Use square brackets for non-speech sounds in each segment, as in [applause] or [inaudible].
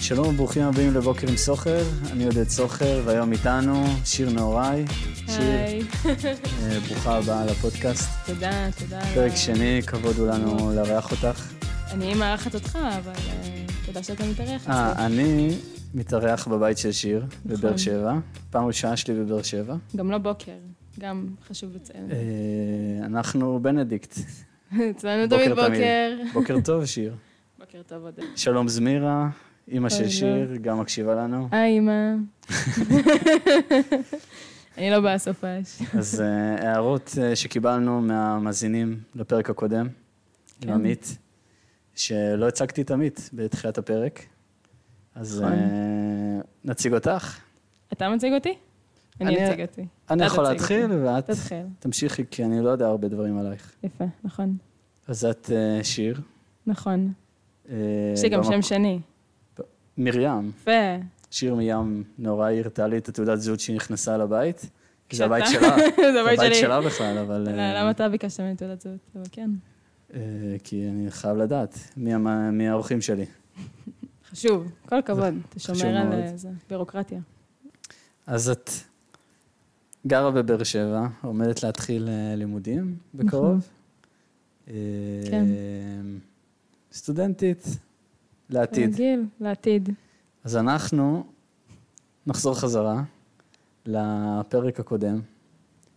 שלום וברוכים הבאים לבוקר עם סוחר, אני עודד סוחר, והיום איתנו שיר נהוראי. שיר, היי, אה, ברוכה הבאה לפודקאסט. תודה, תודה. על פרק ה- שני, כבוד הוא לנו לארח אותך. אני מארחת אותך, אבל אה, תודה שאתה מתארח. אצלי. אה, אני מתארח בבית של שיר, בבאר נכון. שבע. פעם ראשונה שלי בבאר שבע. גם לא בוקר, גם חשוב לציין. אה, אנחנו בנדיקט. [laughs] אצלנו בוקר תמיד תמיד. בוקר. בוקר טוב, שיר. בוקר טוב עוד. שלום זמירה, אימא של אוי, לא. שיר, גם מקשיבה לנו. היי, אמא. [laughs] אני לא באה סופש. אז אה, הערות אה, שקיבלנו מהמאזינים לפרק הקודם, עם כן. עמית, שלא הצגתי את עמית בתחילת הפרק, אז נכון. אה, נציג אותך. אתה מציג אותי? אני- אני אציג אותי. אני אתה יכול תציג להתחיל, ואת תתחיל. תמשיכי, כי אני לא יודע הרבה דברים עלייך. יפה, נכון. אז את אה, שיר. נכון. אה, יש לי גם במק- שם שני. מרים. יפה. שיר מרים נורא הרתה לי את התעודת זהות שהיא נכנסה לבית. זה כשאתה- הבית שלה, זה זה [laughs] הבית הבית שלי. שלה בכלל, אבל... לא, אה, למה אתה ביקשת ממני תעודת זהות? אבל כן, אה, כי אני חייב לדעת מי המ- מי האורחים שלי. חשוב. כל הכבוד. אתה חשוב שומר על מאוד. אה, זה. בירוקרטיה. אז את גרה בבאר שבע, עומדת להתחיל אה, לימודים בקרוב. אה, נכון. כן. סטודנטית לעתיד. רגיל, לעתיד. אז אנחנו נחזור חזרה לפרק הקודם,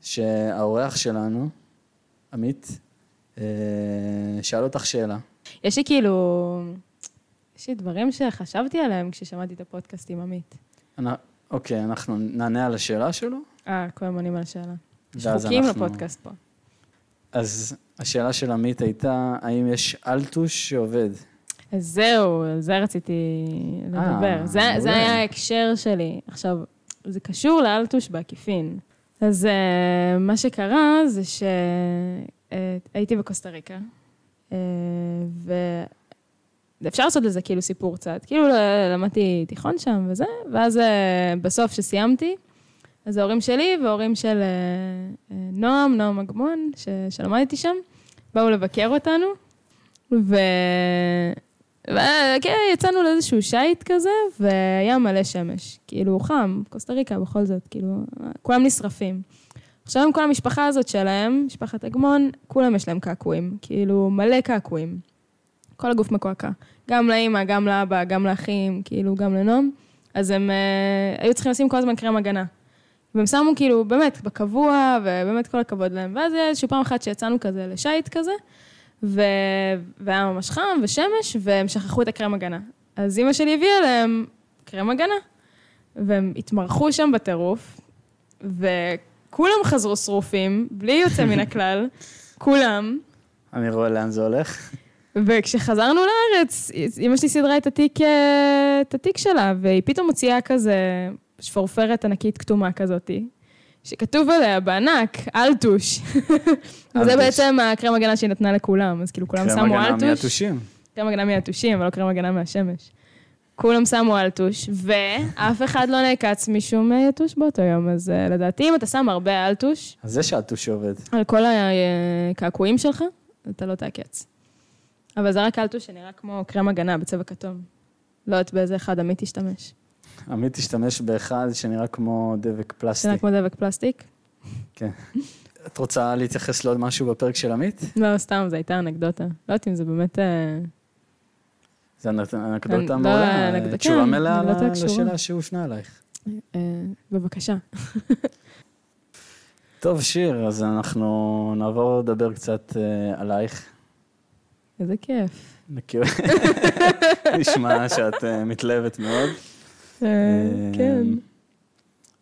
שהאורח שלנו, עמית, אה, שאל אותך שאלה. יש לי כאילו... יש לי דברים שחשבתי עליהם כששמעתי את הפודקאסט עם עמית. אנ- אוקיי, אנחנו נענה על השאלה שלו, אה, כל הזמן עונים על השאלה. יש ואז חוקים אנחנו- לפודקאסט פה. אז השאלה של עמית הייתה, האם יש אלטוש שעובד? אז זהו, על זה רציתי לדבר. זה, מעולה. זה היה ההקשר שלי. עכשיו, זה קשור לאלטוש בעקיפין. אז אה, מה שקרה זה שהייתי בקוסטה ריקה, אה, ואפשר לעשות לזה כאילו סיפור קצת. כאילו ל- למדתי תיכון שם וזה, ואז אה, בסוף שסיימתי, אז ההורים שלי וההורים של אה, אה, נועם, נועם אגמון, ש- שלמדתי שם, באו לבקר אותנו, ו... וכן, יצאנו לאיזשהו שיט כזה, והיה מלא שמש. כאילו, חם, קוסטה ריקה בכל זאת, כאילו, כולם נשרפים. עכשיו עם כל המשפחה הזאת שלהם, משפחת אגמון, כולם יש להם קעקועים. כאילו, מלא קעקועים. כל הגוף מקועקע. גם לאימא, גם לאבא, גם לאחים, כאילו, גם לנועם. אז הם אה, היו צריכים לשים כל הזמן קרם הגנה. והם שמו כאילו, באמת, בקבוע, ובאמת כל הכבוד להם. ואז היה איזושהי פעם אחת שיצאנו כזה לשייט כזה, ו... והיה ממש חם ושמש, והם שכחו את הקרם הגנה. אז אימא שלי הביאה להם קרם הגנה. והם התמרחו שם בטירוף, וכולם חזרו שרופים, בלי יוצא [laughs] מן הכלל, כולם. אני רואה לאן זה הולך. וכשחזרנו לארץ, אימא שלי סידרה את התיק, אה, את התיק שלה, והיא פתאום מוציאה כזה שפורפרת ענקית כתומה כזאתי, שכתוב עליה בענק, אלטוש. אלטוש. [laughs] וזה בעצם הקרם הגנה שהיא נתנה לכולם, אז כאילו כולם שמו קרם הגנה אלטוש. כן, מהטושים. קרם הגנה מהיתושים, אבל לא קרם הגנה מהשמש. כולם שמו אלטוש, ואף אחד לא נעקץ משום אה, יתוש באותו יום, אז אה, לדעתי אם אתה שם הרבה אלטוש אז יש אלטוש שעובד. על כל הקעקועים שלך, אתה לא תעקץ. אבל זה רק אלטוש שנראה כמו קרם הגנה בצבע כתום. לא יודעת באיזה אחד עמית השתמש. עמית השתמש באחד שנראה כמו דבק פלסטי. שנראה כמו דבק פלסטיק. את רוצה להתייחס לעוד משהו בפרק של עמית? לא, סתם, זו הייתה אנקדוטה. לא יודעת אם זה באמת... אה, זו אנ- אנקדוטה לא, מעולה, אנקדוטה, תשובה כן, מלאה ל- אנקדוטה קשורה. לשאלה שהופנה אלייך. אה, בבקשה. טוב, שיר, אז אנחנו נעבור לדבר קצת אה, עלייך. איזה כיף. נכיר- [laughs] נשמע שאת אה, מתלהבת מאוד. אה, כן.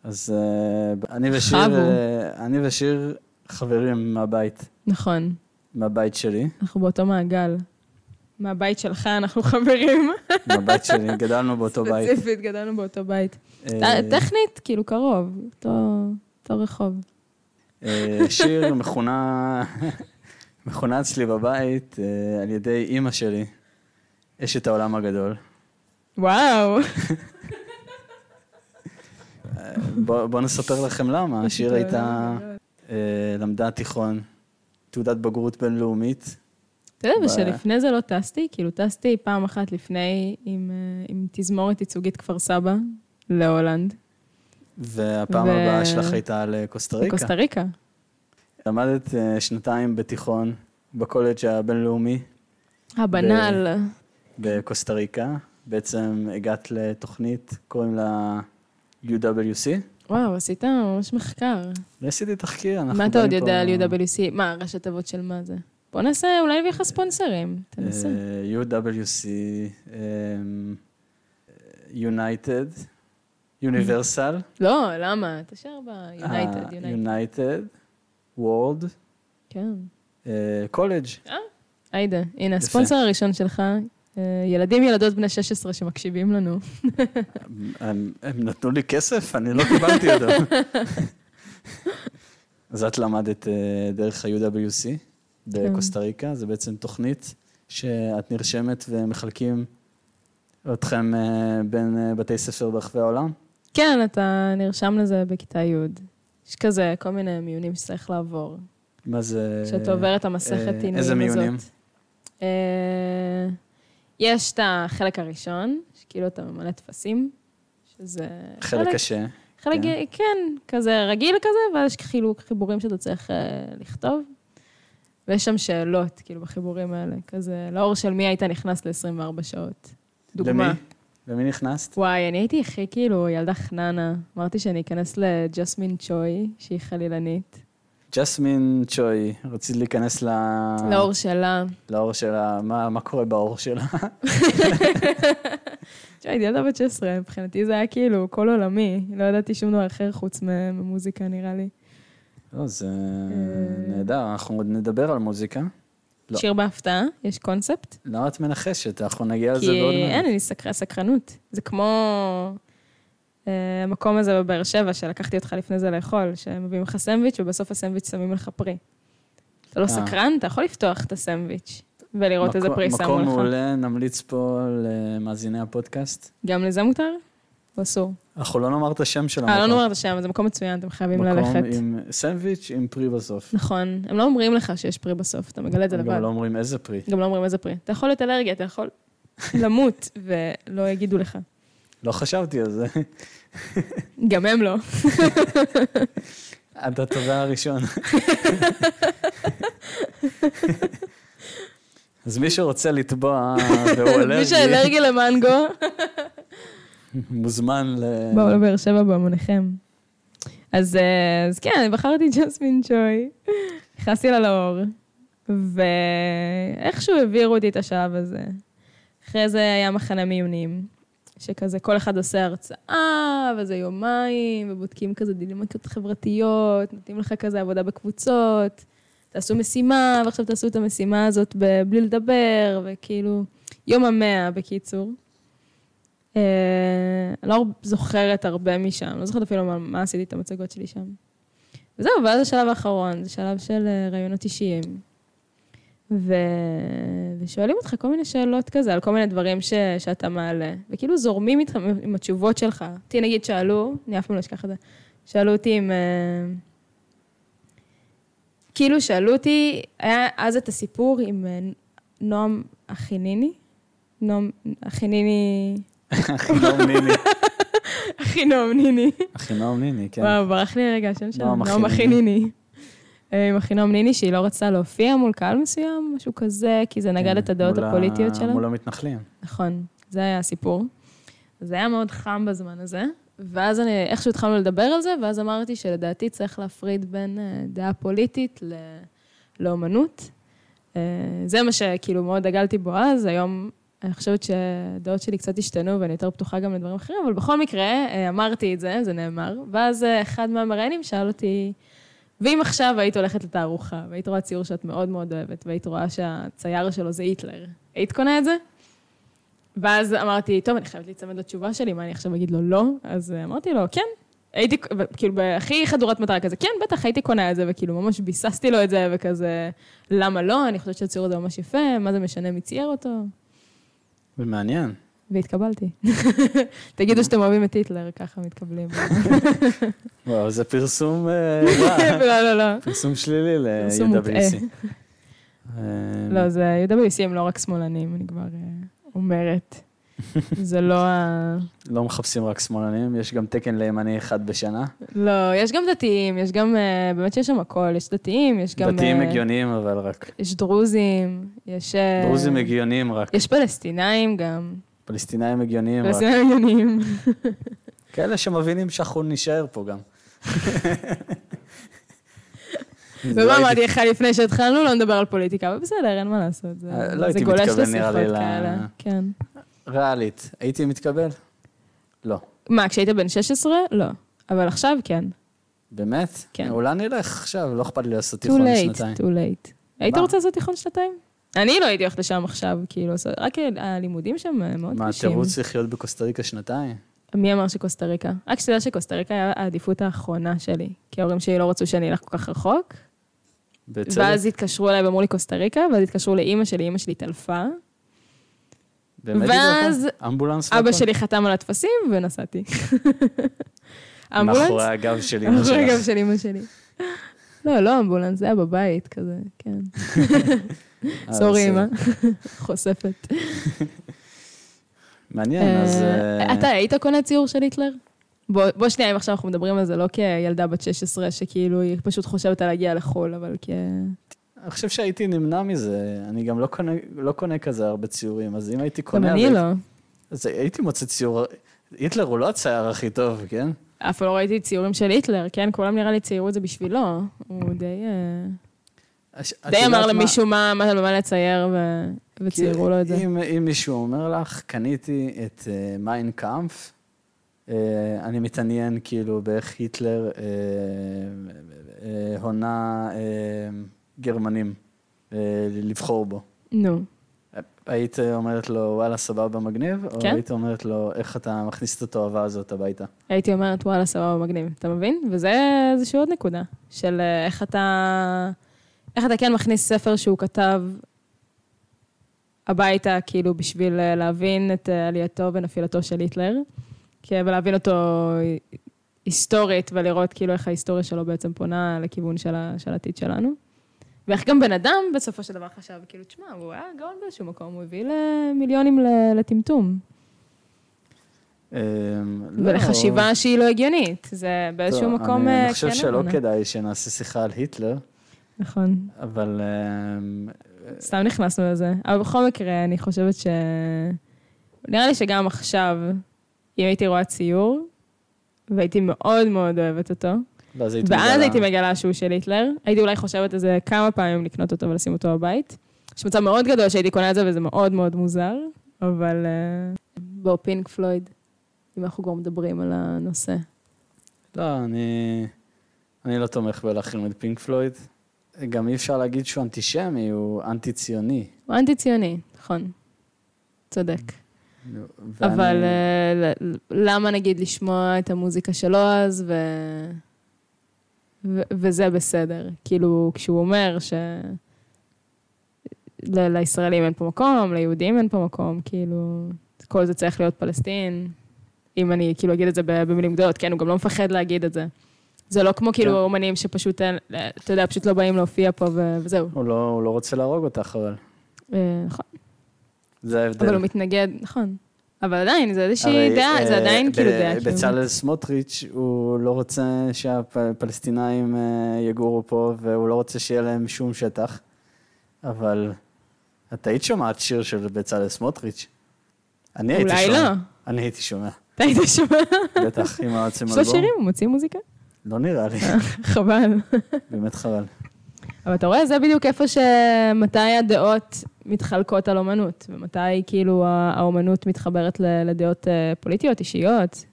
אז אה, ב- אני ושיר, חבו. אה, אני ושיר חברים מהבית, נכון. מהבית שלי, אנחנו באותו מעגל. מהבית שלך אנחנו חברים. מהבית שלי, גדלנו [laughs] באותו בית. ספציפית, גדלנו באותו בית. אה, טכנית, כאילו קרוב, אותו- אותו רחוב. אה, שיר מכונה, מכונה אצלי בבית אה, על ידי אימא שלי, אשת העולם הגדול. וואו. אה, בוא, בוא נספר לכם למה. השיר הייתה, אה, למדה תיכון, תעודת בגרות בינלאומית, אתה יודע, ב- ושלפני זה לא טסתי, כאילו טסתי פעם אחת לפני עם, אה, עם תזמורת ייצוגית כפר סבא להולנד, והפעם ו- הבאה שלך הייתה על אה, קוסטה ריקה. לקוסטה ריקה. למדת אה, שנתיים בתיכון, בקולג' הבינלאומי הבנאל. בקוסטה ריקה. בעצם הגעת לתוכנית, קוראים לה UWC. וואו, עשית ממש מחקר. ועשיתי תחקיר, אנחנו מה אתה עוד באים יודע על פה- UWC? מה, ראשי תיבות של מה זה? בוא נעשה, אולי יביא לך ספונסרים. תנסה. אה, UWC, אמ, יונייטד, יוניברסל, לא, למה? תשאר ב-United, אה, [laughs] United. יונייטד, וורד, כן. אה, קולג'. עאידה, הנה, הספונסר הראשון שלך, אה, ילדים, ילדות בני 16 שמקשיבים לנו. הם הם נתנו לי כסף, אני לא [laughs] קיבלתי אותו. [laughs] אז את למדת אה, דרך ה-UWC בקוסטה כן. ריקה, זה בעצם תוכנית שאת נרשמת ומחלקים אתכם אה, בין אה, בתי ספר ברחבי העולם. כן, אתה נרשם לזה בכיתה י'. יש כזה כל מיני מיונים שצריך לעבור. מה זה... כשאתה עובר את המסכת אה, עינויים הזאת. איזה מיונים? אה, יש את החלק הראשון, שכאילו אתה ממלא טפסים, שזה חלק קשה. חלק, כן. כן, כזה רגיל כזה, ואז יש חילוק חיבורים שאתה צריך אה, לכתוב. ויש שם שאלות, כאילו, בחיבורים האלה. כזה, לאור של מי היית נכנס ל-24 שעות. דוגמה. למי? למי נכנסת? וואי, אני הייתי הכי כאילו ילדה חננה. אמרתי שאני אכנס לג'סמין צ'וי, שהיא חלילנית. ג'סמין צ'וי, רצית להיכנס ל... אה. לאור שלה. לאור שלה, מה מה קורה בעור שלה? תשמע, הייתי ילדה בת 16, מבחינתי זה היה כאילו כל עולמי. לא ידעתי שום דבר אחר חוץ ממוזיקה, נראה לי. לא, זה אה. נהדר, אנחנו עוד נדבר על מוזיקה. לא. שיר בהפתעה, יש קונספט. למה את מנחשת? אנחנו נגיע לזה כי בעוד אין מעט. לי סקר- סקרנות. זה כמו אה, המקום הזה בבאר שבע, שלקחתי אותך לפני זה לאכול, שמביאים לך סנדוויץ' ובסוף הסנדוויץ' שמים לך פרי. אתה לא אה. סקרן, אתה יכול לפתוח את הסנדוויץ' ולראות איזה מקום- פרי שמו מקום לך. מעולה, נמליץ פה למאזיני הפודקאסט. גם לזה מותר? או אסור? אנחנו לא נאמר את השם של המקום. אה, לא נאמר את השם, זה מקום מצוין, אתם חייבים מקום ללכת. עם סנדוויץ' עם פרי בסוף. נכון, הם לא אומרים לך שיש פרי בסוף, אתה מגלה את זה הם לבד. גם לא אומרים איזה פרי. גם לא אומרים איזה פרי. אתה יכול להיות אלרגי, אתה יכול למות, ולא יגידו לך. לא חשבתי על זה. גם הם לא. אתה התובע הראשון. אז מי שרוצה לתבוע והוא מי אלרגי, שאלרגי למנגו, מוזמן ל... באו לבאר שבע בהמוניכם. אז, אה, אז כן, אני בחרתי ג'סמין צ'וי, נכנסתי לה לאור, ואיכשהו העבירו אותי את השלב הזה. אחרי זה היה מחנה מיונים, שכזה כל אחד עושה הרצאה, וזה יומיים, ובודקים כזה דילמטיות חברתיות, נותנים לך כזה עבודה בקבוצות, תעשו משימה, ועכשיו תעשו את המשימה הזאת ב- בלי לדבר, וכאילו, יום המאה בקיצור. אה, לא זוכרת הרבה משם, לא זוכרת אפילו מה, מה עשיתי את המצגות שלי שם. וזהו, ואז השלב האחרון, זה שלב של אה, רעיונות אישיים. ו... ושואלים אותך כל מיני שאלות כזה, על כל מיני דברים ש... שאתה מעלה, וכאילו זורמים איתך עם התשובות שלך. אותי נגיד שאלו, אני אף פעם לא אשכח את זה, שאלו אותי אם... אה, כאילו שאלו אותי, היה אז את הסיפור עם אה, נועם אחיניני? נועם אחיניני... אחינועם ניני. אחינועם ניני. אחינועם ניני, כן. וואו, ברח לי רגע השם שלה. נועם נועם אחיניני. אחיניני. אה, עם אחינועם ניני, שהיא לא רצתה להופיע מול קהל מסוים, משהו כזה, כי זה נגד כן, את הדעות מול ה- הפוליטיות שלה. מול המתנחלים. נכון, זה היה הסיפור. זה היה מאוד חם בזמן הזה, ואז אני, איכשהו התחלנו לדבר על זה, ואז אמרתי שלדעתי צריך להפריד בין אה, דעה פוליטית ל... לאומנות. אה, זה מה שכאילו מאוד דגלתי בו אז, היום אני חושבת שהדעות שלי קצת השתנו ואני יותר פתוחה גם לדברים אחרים, אבל בכל מקרה, אה, אמרתי את זה, זה נאמר, ואז אה, אחד מהמראיינים שאל אותי, ואם עכשיו היית הולכת לתערוכה, והיית רואה ציור שאת מאוד מאוד אוהבת, והיית רואה שהצייר שלו זה היטלר, היית קונה את זה? ואז אמרתי, טוב, אני חייבת להיצמד לתשובה שלי, מה אני עכשיו אגיד לו לא? אז אה, אמרתי לו, כן. הייתי, ו- כאילו, הכי חדורת מטרה כזה, כן, בטח, הייתי קונה את זה, וכאילו, ממש ביססתי לו את זה, וכזה, למה לא? אני חושבת שהציור הזה ממש יפה, מה זה משנה מי צייר אותו? זה מעניין. והתקבלתי. [laughs] תגידו שאתם אוהבים את היטלר, ככה [laughs] מתקבלים. [laughs] וואו, זה פרסום אה, רע. לא, לא, לא. פרסום שלילי פרסום מוטעה. ל-UWC. אה, לא, זה UWC הם לא רק שמאלנים, אני כבר אה, אומרת. זה לא ה... לא מחפשים רק שמאלנים, יש גם תקן לימני אחד בשנה. לא, יש גם דתיים, יש גם... אה, באמת שיש שם הכל, יש דתיים, יש גם... דתיים אה, הגיוניים, אבל רק. יש דרוזים, יש... אה, דרוזים הגיוניים רק. יש פלסטינאים גם. פלסטינאים הגיוניים כן, רק. פלסטינאים עניונים. כאלה שמבינים שאנחנו נישאר פה [laughs] גם. לא הייתי- ומה אמרתי לך לפני שהתחלנו, לא נדבר על פוליטיקה, אבל בסדר, אין מה לעשות. זה- אה, לא זה הייתי גולש מתכוון, נראה לי, לשיחות ל- כאלה. כן. ריאלית, הייתי מתקבל? לא. מה, כשהיית בן 16? לא. אבל עכשיו כן. באמת? כן. אולי נלך עכשיו, לא אכפת לי לעשות too תיכון late, שנתיים. too late. היית מה? רוצה לעשות תיכון שנתיים? אני לא הייתי הולכת לשם עכשיו, כאילו, עושה- רק הלימודים שם אה, מאוד מה, קשים. התירוץ לחיות בקוסטה ריקה שנתיים? מי אמר שקוסטה ריקה? רק שתדע שקוסטה ריקה היה העדיפות האחרונה שלי, כי ההורים שלי לא רצו שאני אלך כל כך רחוק, בצדק? ואז התקשרו אליי ואמרו לי קוסטה ריקה, ואז התקשרו לאימא שלי, אימא שלי התעלפה, באמת זה ואז הכל? אמבולנס אבא והכל? שלי חתם על הטפסים [laughs] ונסעתי. מאחורי אמבולנס? הגב של אמא מאחורי הגב שלך. של אימא שלי. לא, לא אמבולנס, זה היה בבית כזה, כן. אה, בסדר. סורי, אמא. [laughs] חושפת. מעניין, אז... אה, אה, אתה היית קונה ציור של היטלר? בוא בוא שנייה, אם עכשיו אנחנו מדברים על זה לא כילדה בת 16, שכאילו היא פשוט חושבת על להגיע לחו"ל, אבל כ... אני חושב שהייתי נמנע מזה. אני גם לא קונה, לא קונה כזה הרבה ציורים, אז אם הייתי גם קונה... אז אני הייתי- לא. אז הייתי מוצא ציור... היטלר הוא לא הצייר הכי טוב, כן? אף פעם לא ראיתי ציורים של היטלר, כן? כולם נראה לי ציירו את זה בשבילו. הוא די... אה, הש- את די יודעת אמר מה? למישהו מה מה- מה לצייר, ו- כי וציירו לו את זה. אם, אם מישהו אומר לך, קניתי את אה, מיינקאמפ, uh, אני מתעניין כאילו באיך היטלר uh, uh, הונה uh, גרמנים uh, לבחור בו. נו. היית אומרת לו, וואלה, סבבה, מגניב? או כן. היית אומרת לו, איך אתה מכניס את התועבה הזאת הביתה? הייתי אומרת, וואלה, סבבה, מגניב, אתה מבין? וזה איזושהי עוד נקודה, של אה, איך אתה, איך אתה כן מכניס ספר שהוא כתב הביתה, כאילו, בשביל אה, להבין את אה, עלייתו ונפילתו של היטלר, כן, ולהבין אותו היסטורית, ולראות כאילו איך ההיסטוריה שלו בעצם פונה לכיוון של, ה, של העתיד שלנו. ואיך גם בן אדם בסופו של דבר חשב, כאילו, תשמע, הוא היה גאון באיזשהו מקום, הוא הביא למיליונים ל- לטמטום. אה, לא. ולחשיבה שהיא לא הגיונית. זה באיזשהו טוב, מקום... אני, אה, אני חושב כן שלא הבנה. כדאי שנעשה שיחה על היטלר, נכון, אבל אה, סתם נכנסנו לזה. אבל בכל מקרה, אני חושבת ש... נראה לי שגם עכשיו, אם הייתי רואה ציור, והייתי מאוד מאוד אוהבת אותו, לא, אז היית ואז מגלה- הייתי מגלה שהוא של היטלר, הייתי אולי חושבת איזה כמה פעמים לקנות אותו ולשים אותו בבית. יש מצב מאוד גדול שהייתי קונה את זה, וזה מאוד מאוד מוזר, אבל... אה, בואו, פינק פלויד, אם אנחנו כבר מדברים על הנושא. לא, אני, אני לא תומך בלהחרים את פינק פלויד. גם אי אפשר להגיד שהוא אנטישמי, הוא אנטי-ציוני. הוא אנטי-ציוני, נכון. צודק. Mm, ואני- אבל אה, ל- ל- למה נגיד לשמוע את המוזיקה שלו אז, ו... ו- וזה בסדר. כאילו, כשהוא אומר ש... ל- לישראלים אין פה מקום, ליהודים אין פה מקום, כאילו, כל זה צריך להיות פלסטין. אם אני כאילו אגיד את זה ב- במילים גדולות, כן, הוא גם לא מפחד להגיד את זה. זה לא כמו כאילו כן. אומנים שפשוט, אין- אתה יודע, פשוט לא באים להופיע פה ו- וזהו. הוא לא, הוא לא רוצה להרוג אותך, אבל אה, נכון. זה ההבדל. אבל הוא מתנגד, נכון. אבל עדיין, זה הרי, איזושהי דעה, זה אה, עדיין ב- כאילו דעה. קיומית. בצלאל סמוטריץ', הוא לא רוצה שהפלסטינאים אה, יגורו פה, והוא לא רוצה שיהיה להם שום שטח. אבל את היית שומעת שיר של בצלאל סמוטריץ'? אני הייתי אולי שומע. לא. אני הייתי שומע, אתה היית שומע? בטח, [laughs] עם העצם יש לו שירים, הוא מוציא מוזיקה? לא נראה לי, חבל. באמת חבל. אבל אתה רואה, זה בדיוק איפה ש... מתי הדעות מתחלקות על אומנות, ומתי כאילו ה- האומנות מתחברת ל- לדעות אה, פוליטיות, אישיות,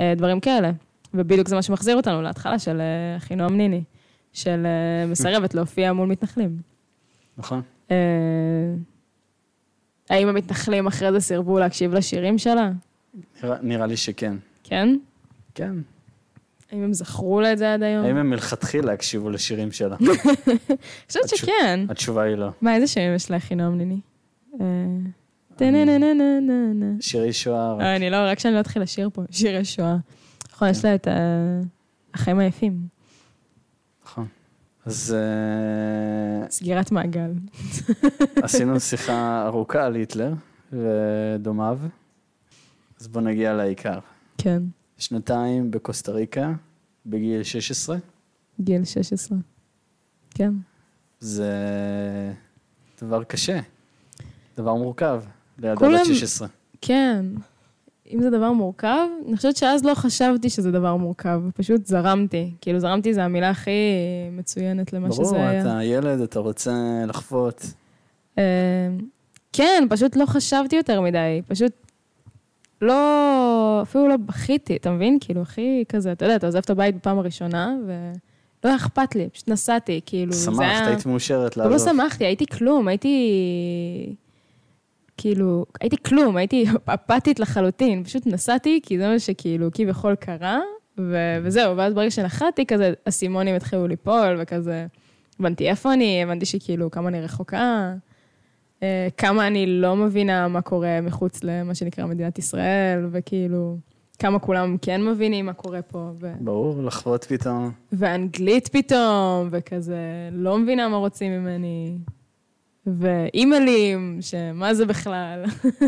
אה, דברים כאלה. ובדיוק זה מה שמחזיר אותנו להתחלה של אה, אחינועם ניני, של אה, מסרבת להופיע מול מתנחלים. נכון. אה, האם המתנחלים אחרי זה סירבו להקשיב לשירים שלה? נראה, נראה לי שכן. כן? כן. האם הם זכרו לה את זה עד היום? האם אני הם מלכתחילה הקשיבו לשירים [laughs] שלה? חושבת שכן. התשובה היא לא. מה, איזה שירים יש לאחינועם ניני? אה, טה-נה-נה-נה-נה-נה. שירי שואה, רק. אה, אני לא, רק שאני לא אתחיל לשיר פה, שירי אה, שואה. נכון, יש לה את ה- החיים היפים. נכון. אז אה, סגירת מעגל. עשינו שיחה ארוכה על היטלר ודומיו, אז בוא נגיע לעיקר. כן, שנתיים בקוסטה ריקה, בגיל 16, גיל 16. כן. זה דבר קשה, דבר מורכב, לילדה כולם- בת 16. כן. אם זה דבר מורכב, אני חושבת שאז לא חשבתי שזה דבר מורכב, פשוט זרמתי. כאילו, זרמתי זה המילה הכי מצוינת למה שזה היה. ברור, אתה ילד, אתה רוצה לחוות. אה, כן, פשוט לא חשבתי יותר מדי, פשוט לא, אפילו לא בכיתי, אתה מבין? כאילו, הכי כזה, אתה יודע, אתה עוזב את הבית בפעם הראשונה, ולא היה אכפת לי, פשוט נסעתי, כאילו, זה שמחת, היה- היית מאושרת גם לא לעזוב. שמחתי, הייתי כלום, הייתי... כאילו, הייתי כלום, הייתי אפתית לחלוטין, פשוט נסעתי, כי זה מה שכאילו כביכול קרה, ו- וזהו, ואז ברגע שנחתתי, כזה אסימונים התחילו ליפול, וכזה, הבנתי איפה אני, הבנתי שכאילו כמה אני רחוקה, אה, כמה אני לא מבינה מה קורה מחוץ למה שנקרא מדינת ישראל, וכאילו, כמה כולם כן מבינים מה קורה פה, ו... ברור, לחוות פתאום. ואנגלית פתאום, וכזה, לא מבינה מה רוצים ממני, ואימיילים, שמה זה בכלל.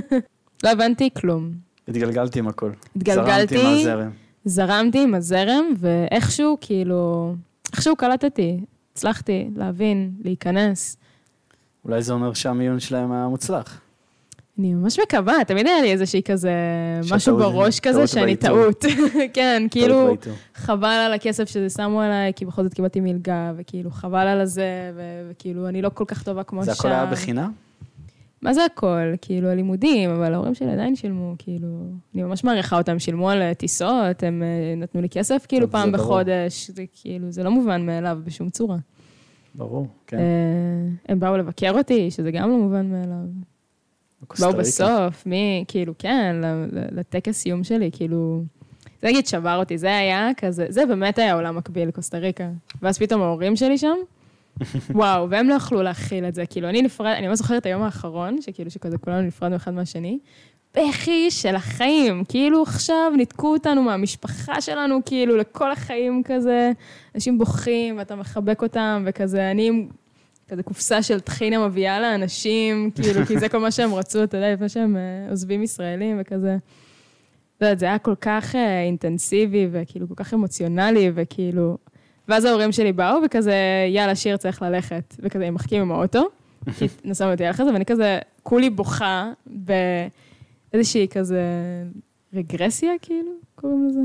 [laughs] לא הבנתי כלום. התגלגלתי עם הכל. התגלגלתי, זרמתי מהזרם. זרמתי עם הזרם, ואיכשהו, כאילו, איכשהו קלטתי, הצלחתי להבין, להיכנס. אולי זה אומר שהמיון שלהם היה מוצלח. אני ממש מקווה, תמיד היה לי איזושהי כזה, שהטעות- משהו בראש כזה, טעות שאני באיתור. טעות. [laughs] כן, כאילו, טעות באיתור. חבל על הכסף שזה שמו עליי, כי בכל זאת קיבלתי מלגה, וכאילו חבל על הזה, ו- וכאילו אני לא כל כך טובה כמו זה הכל היה בחינם? מה זה הכל? כאילו, הלימודים, אבל ההורים שלי עדיין שילמו, כאילו... אני ממש מעריכה אותם, שילמו על אה, טיסות, הם אה, נתנו לי כסף כאילו טוב, זה פעם ברור. בחודש, זה כאילו, זה לא מובן מאליו בשום צורה. ברור, כן. אה, הם באו לבקר אותי, שזה גם לא מובן מאליו. בקוסטה באו ריקה. לא, בסוף, מי, כאילו, כן, ל- ל- לטקס סיום שלי, כאילו... זה נגיד שבר אותי, זה היה כזה, זה באמת היה עולם מקביל, קוסטה ריקה. ואז פתאום ההורים שלי שם, וואו, והם לא יכלו להכיל את זה. כאילו, אני נפרד, אני ממש זוכרת את היום האחרון, שכאילו, שכזה כולנו נפרדנו אחד מהשני. בכי של החיים, כאילו עכשיו ניתקו אותנו מהמשפחה שלנו, כאילו לכל החיים כזה, אנשים בוכים ואתה מחבק אותם וכזה, אני עם כזה קופסה של טחינה מביאה לאנשים, [laughs] כאילו, כי זה כל מה שהם רצו, אתה יודע, לפני שהם אה, עוזבים ישראלים וכזה. אתה יודעת, זה היה כל כך אה, אינטנסיבי וכאילו כל כך אמוציונלי וכאילו... ואז ההורים שלי באו וכזה, יאללה, שיר, צריך ללכת. וכזה, הם מחכים עם האוטו, כי נסענו אותי ללכת, ואני כזה, כולי בוכה באיזושהי כזה רגרסיה, כאילו, קוראים לזה.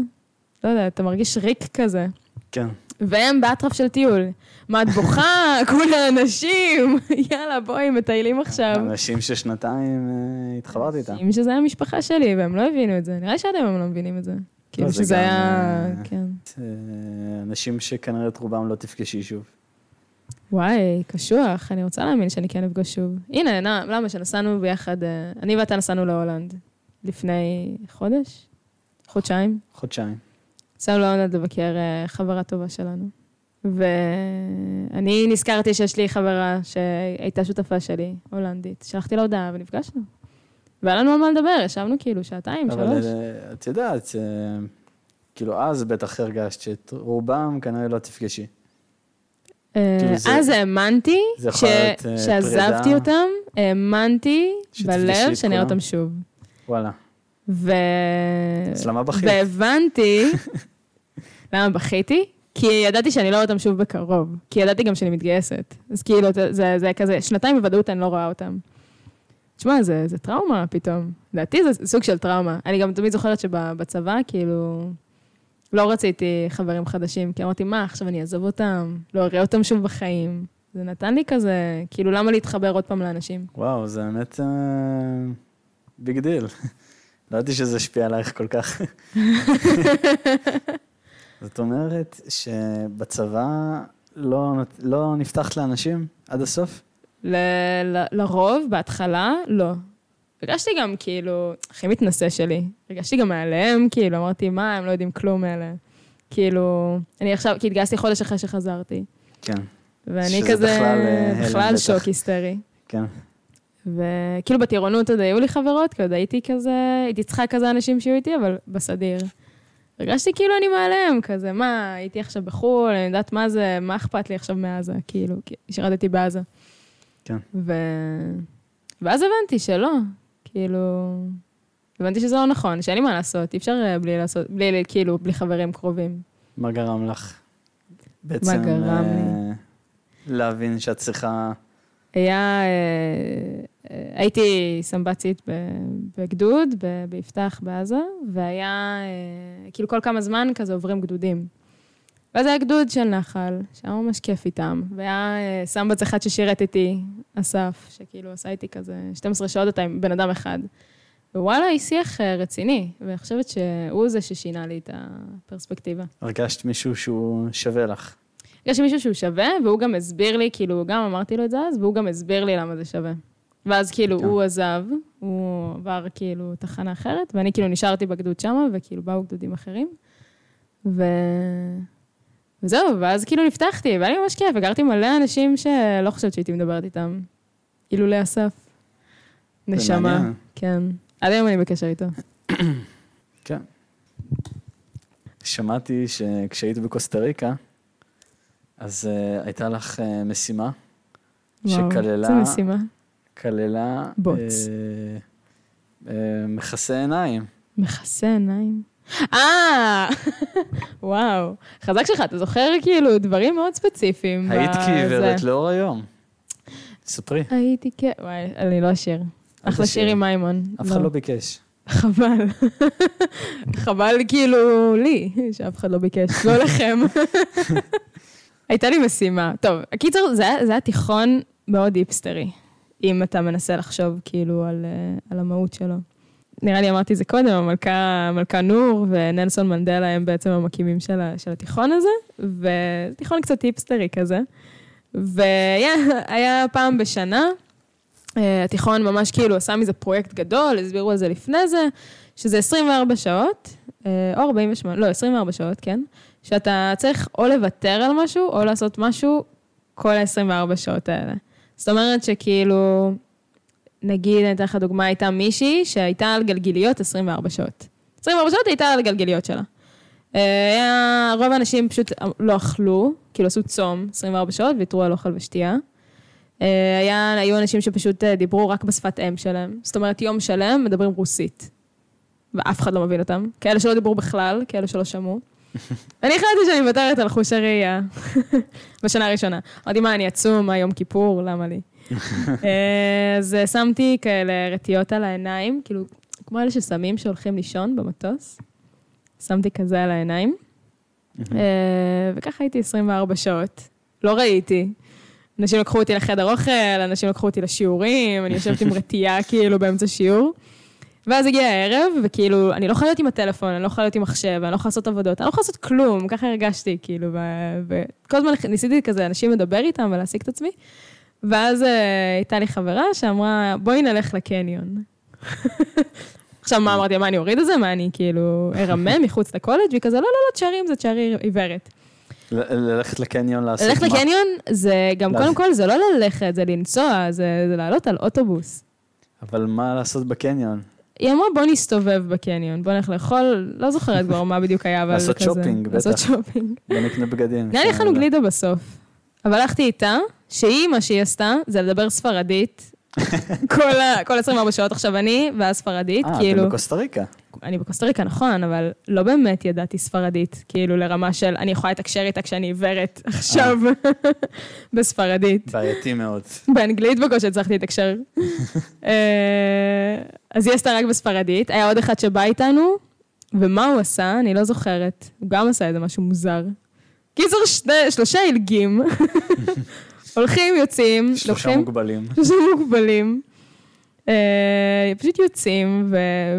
לא יודע, אתה מרגיש ריק כזה. כן. והם באטרף של טיול. מה את בוכה? [laughs] כולה אנשים! [laughs] יאללה, בואי, מטיילים עכשיו. אנשים ששנתיים אה, התחברתי איתם. אם שזה היה המשפחה שלי, והם לא הבינו את זה. נראה לי שעד היום הם לא מבינים את זה. כאילו זה שזה גם, היה... אה, כן. אה, אנשים שכנראה את רובם לא תפגשי שוב. וואי, קשוח, אני רוצה להאמין שאני כן אפגוש שוב. הנה, נע, למה? שנסענו ביחד, אה, אני ואתה נסענו להולנד לפני חודש? חודשיים? חודשיים. נסענו להולנד לבקר אה, חברה טובה שלנו. ואני נזכרתי שיש לי חברה שהייתה שותפה שלי, הולנדית. שלחתי לה הודעה ונפגשנו. והיה לנו על מה לדבר, ישבנו כאילו שעתיים, אבל שלוש. אה, את יודעת, אה, כאילו אז בטח הרגשת שאת רובם כנראה לא תפגשי. אה, כאילו זה- אז האמנתי זה יכול ש- להיות, אה, שעזבתי פרידה. אותם, האמנתי שתפגשי בלב את שאני אראה כולם. אותם שוב. וואלה. אה, ו... אז למה בכית? והבנתי... למה בכיתי? כי ידעתי שאני לא רואה אותם שוב בקרוב. כי ידעתי גם שאני מתגייסת. אז כאילו, זה, זה, זה כזה, שנתיים בוודאות אני לא רואה אותם. תשמע, זה, זה טראומה פתאום. לדעתי זה סוג של טראומה. אני גם תמיד זוכרת שבצבא, כאילו, לא רציתי חברים חדשים, כי אמרתי, מה, עכשיו אני אעזוב אותם, לא אראה אותם שוב בחיים. זה נתן לי כזה, כאילו, למה להתחבר עוד פעם לאנשים? וואו, זה באמת אה, ביג דיל. [laughs] לא ידעתי שזה השפיע עלייך כל כך. [laughs] זאת אומרת שבצבא לא, נת- לא נפתחת לאנשים עד הסוף? ל- ל- לרוב, בהתחלה, לא. הרגשתי גם כאילו, הכי מתנשא שלי. הרגשתי גם מעליהם, כאילו, אמרתי, מה, הם לא יודעים כלום מאלה. כאילו, אני עכשיו, כי התגייסתי חודש אחרי שחזרתי. כן, ואני שזה כזה, בכלל, אה, הלם בכלל בטח. שוק היסטרי. כן. וכאילו בטירונות עוד היו לי חברות, כי עוד הייתי כזה, הייתי צריכה כזה אנשים שיהיו איתי, אבל בסדיר. הרגשתי כאילו אני מעליהם, כזה, מה, הייתי עכשיו בחו"ל, אני יודעת מה זה, מה אכפת לי עכשיו מעזה, כאילו, כי שירתתי בעזה. כן. ו... ואז הבנתי שלא, כאילו... הבנתי שזה לא נכון, שאין לי מה לעשות, אי אפשר אה, בלי לעשות, בלי, כאילו, בלי חברים קרובים. מה גרם לך? בעצם, גרם לי? אה, להבין שאת צריכה... היה... אה, אה, הייתי סמב"צית ב- בגדוד, ב- ביפתח בעזה, והיה... אה, כאילו כל כמה זמן כזה עוברים גדודים. ואז היה גדוד של נחל, שהיה ממש כיף איתם, והיה אה, סמב"צ אחד ששירת איתי, אסף, שכאילו עשה איתי כזה 12 שעות אתה עם בן אדם אחד. ווואלה, איש שיח אה, רציני, ואני חושבת שהוא זה ששינה לי את הפרספקטיבה. הרגשת מישהו שהוא שווה לך. יש מישהו שהוא שווה, והוא גם הסביר לי, כאילו, גם אמרתי לו את זה אז, והוא גם הסביר לי למה זה שווה. ואז כאילו, כן. הוא עזב, הוא עבר כאילו תחנה אחרת, ואני כאילו נשארתי בגדוד שמה, וכאילו באו גדודים אחרים. ו... וזהו, ואז כאילו נפתחתי, והיה לי ממש כיף, הכרתי מלא אנשים שלא חושבת שהייתי מדברת איתם. אילולא אסף. זה נשמה, מעניין. כן. עד היום אני בקשר איתו. כן. שמעתי שכשהיית בקוסטה ריקה, אז uh, הייתה לך uh, משימה, זו שכללה- משימה. כללה... בוץ. אה, אה, מכסה עיניים. מכסה עיניים. אה, [laughs] וואו. חזק שלך, אתה זוכר כאילו דברים מאוד ספציפיים. היית בזה. כעיוורת לאור היום. ספרי. הייתי כ... וואי, אני לא אשיר. אל אחלה תשאירי. שיר עם מימון. אף אחד לא ביקש. חבל. חבל כאילו לי, שאף אחד לא ביקש, לא לכם. הייתה לי משימה. טוב, הקיצר, זה היה- זה היה תיכון מאוד היפסטרי, אם אתה מנסה לחשוב כאילו על, אה, על המהות שלו. נראה לי אמרתי זה קודם, המלכה, המלכה נור ונלסון מנדלה הם בעצם המקימים של, ה, של התיכון הזה, וזה תיכון קצת היפסטרי כזה. והיה היה פעם בשנה, אה, התיכון ממש כאילו עשה מזה פרויקט גדול, הסבירו על זה לפני זה, שזה 24 שעות, אה, או 48, לא, 24 שעות, כן, שאתה צריך או לוותר על משהו, או לעשות משהו כל ה-24 שעות האלה. זאת אומרת שכאילו, נגיד, אני אתן לך דוגמה, הייתה מישהי שהייתה על גלגיליות 24 שעות. 24 שעות היא הייתה על הגלגיליות שלה. אה, היה, רוב האנשים פשוט לא אכלו, כאילו עשו צום 24 שעות ויתרו על אוכל ושתייה. אה, היה, היו אנשים שפשוט אה, דיברו רק בשפת אם שלהם. זאת אומרת, יום שלם מדברים רוסית. ואף אחד לא מבין אותם. כאלה שלא דיברו בכלל, כאלה שלא שמעו. אני החלטתי שאני מוותרת על חוש הראייה. [laughs] בשנה הראשונה. אמרתי, מה, אני עצום, מה, יום כיפור, למה לי? אה, אז אה, שמתי כאלה רטיות על העיניים, כאילו, כמו אלה ששמים שהולכים לישון במטוס. שמתי כזה על העיניים. אה, וככה הייתי 24 שעות. לא ראיתי. אנשים לקחו אותי לחדר אוכל, אנשים לקחו אותי לשיעורים, אני יושבת עם רטייה כאילו באמצע שיעור. ואז הגיע הערב, וכאילו, אני לא יכולה להיות עם הטלפון, אני לא יכולה להיות עם מחשב, אני לא יכולה לעשות עבודות, אני לא יכולה לעשות כלום, ככה הרגשתי, כאילו, ו- וכל הזמן ניסיתי כזה אנשים לדבר איתם ולהשיג את עצמי. ואז אה, הייתה לי חברה שאמרה, בואי נלך לקניון. [laughs] עכשיו, מה אמרתי, מה, אני אוריד את זה? מה, אני כאילו ארמה מחוץ לקולג'? והיא כזה, לא, לא, לא, תשארי עם זה, תשארי עיוורת. ל- ללכת לקניון לעשות ללכת מה? לקניון זה גם, לא. קודם כל, זה לא ללכת, זה לנסוע, זה זה לעלות על אוטובוס. אבל מה לעשות בקניון? היא אמרה, בוא נסתובב בקניון, בוא נלך לאכול, לא זוכרת כבר מה בדיוק היה, אבל לעשות כזה... שופינג, לעשות בטח. שופינג. בוא נקנה בגדים. נראה לי שאני אכלנו הולך. גלידה בסוף. אבל הלכתי איתה, שהיא, מה שהיא עשתה, זה לדבר [laughs] ספרדית. כל ה- כל 24 שעות עכשיו אני, ואז ספרדית, אה, כאילו... אתם בקוסטה [laughs] ריקה. אני בקוסטה ריקה, נכון, אבל לא באמת ידעתי ספרדית, כאילו לרמה של אני יכולה לתקשר איתה כשאני עיוורת עכשיו אה. [laughs] בספרדית. בעייתי מאוד. באנגלית בקושי הצלחתי [laughs] לתקשר. אה, אז היא עשתה רק בספרדית. היה עוד אחד שבא איתנו, ומה הוא עשה? אני לא זוכרת. הוא גם עשה איזה משהו מוזר. קיצור, שני- שלושה [laughs] עילגים. הולכים, יוצאים, שלושה לוקחים... מוגבלים. שלושה מוגבלים. אה, פשוט יוצאים ו-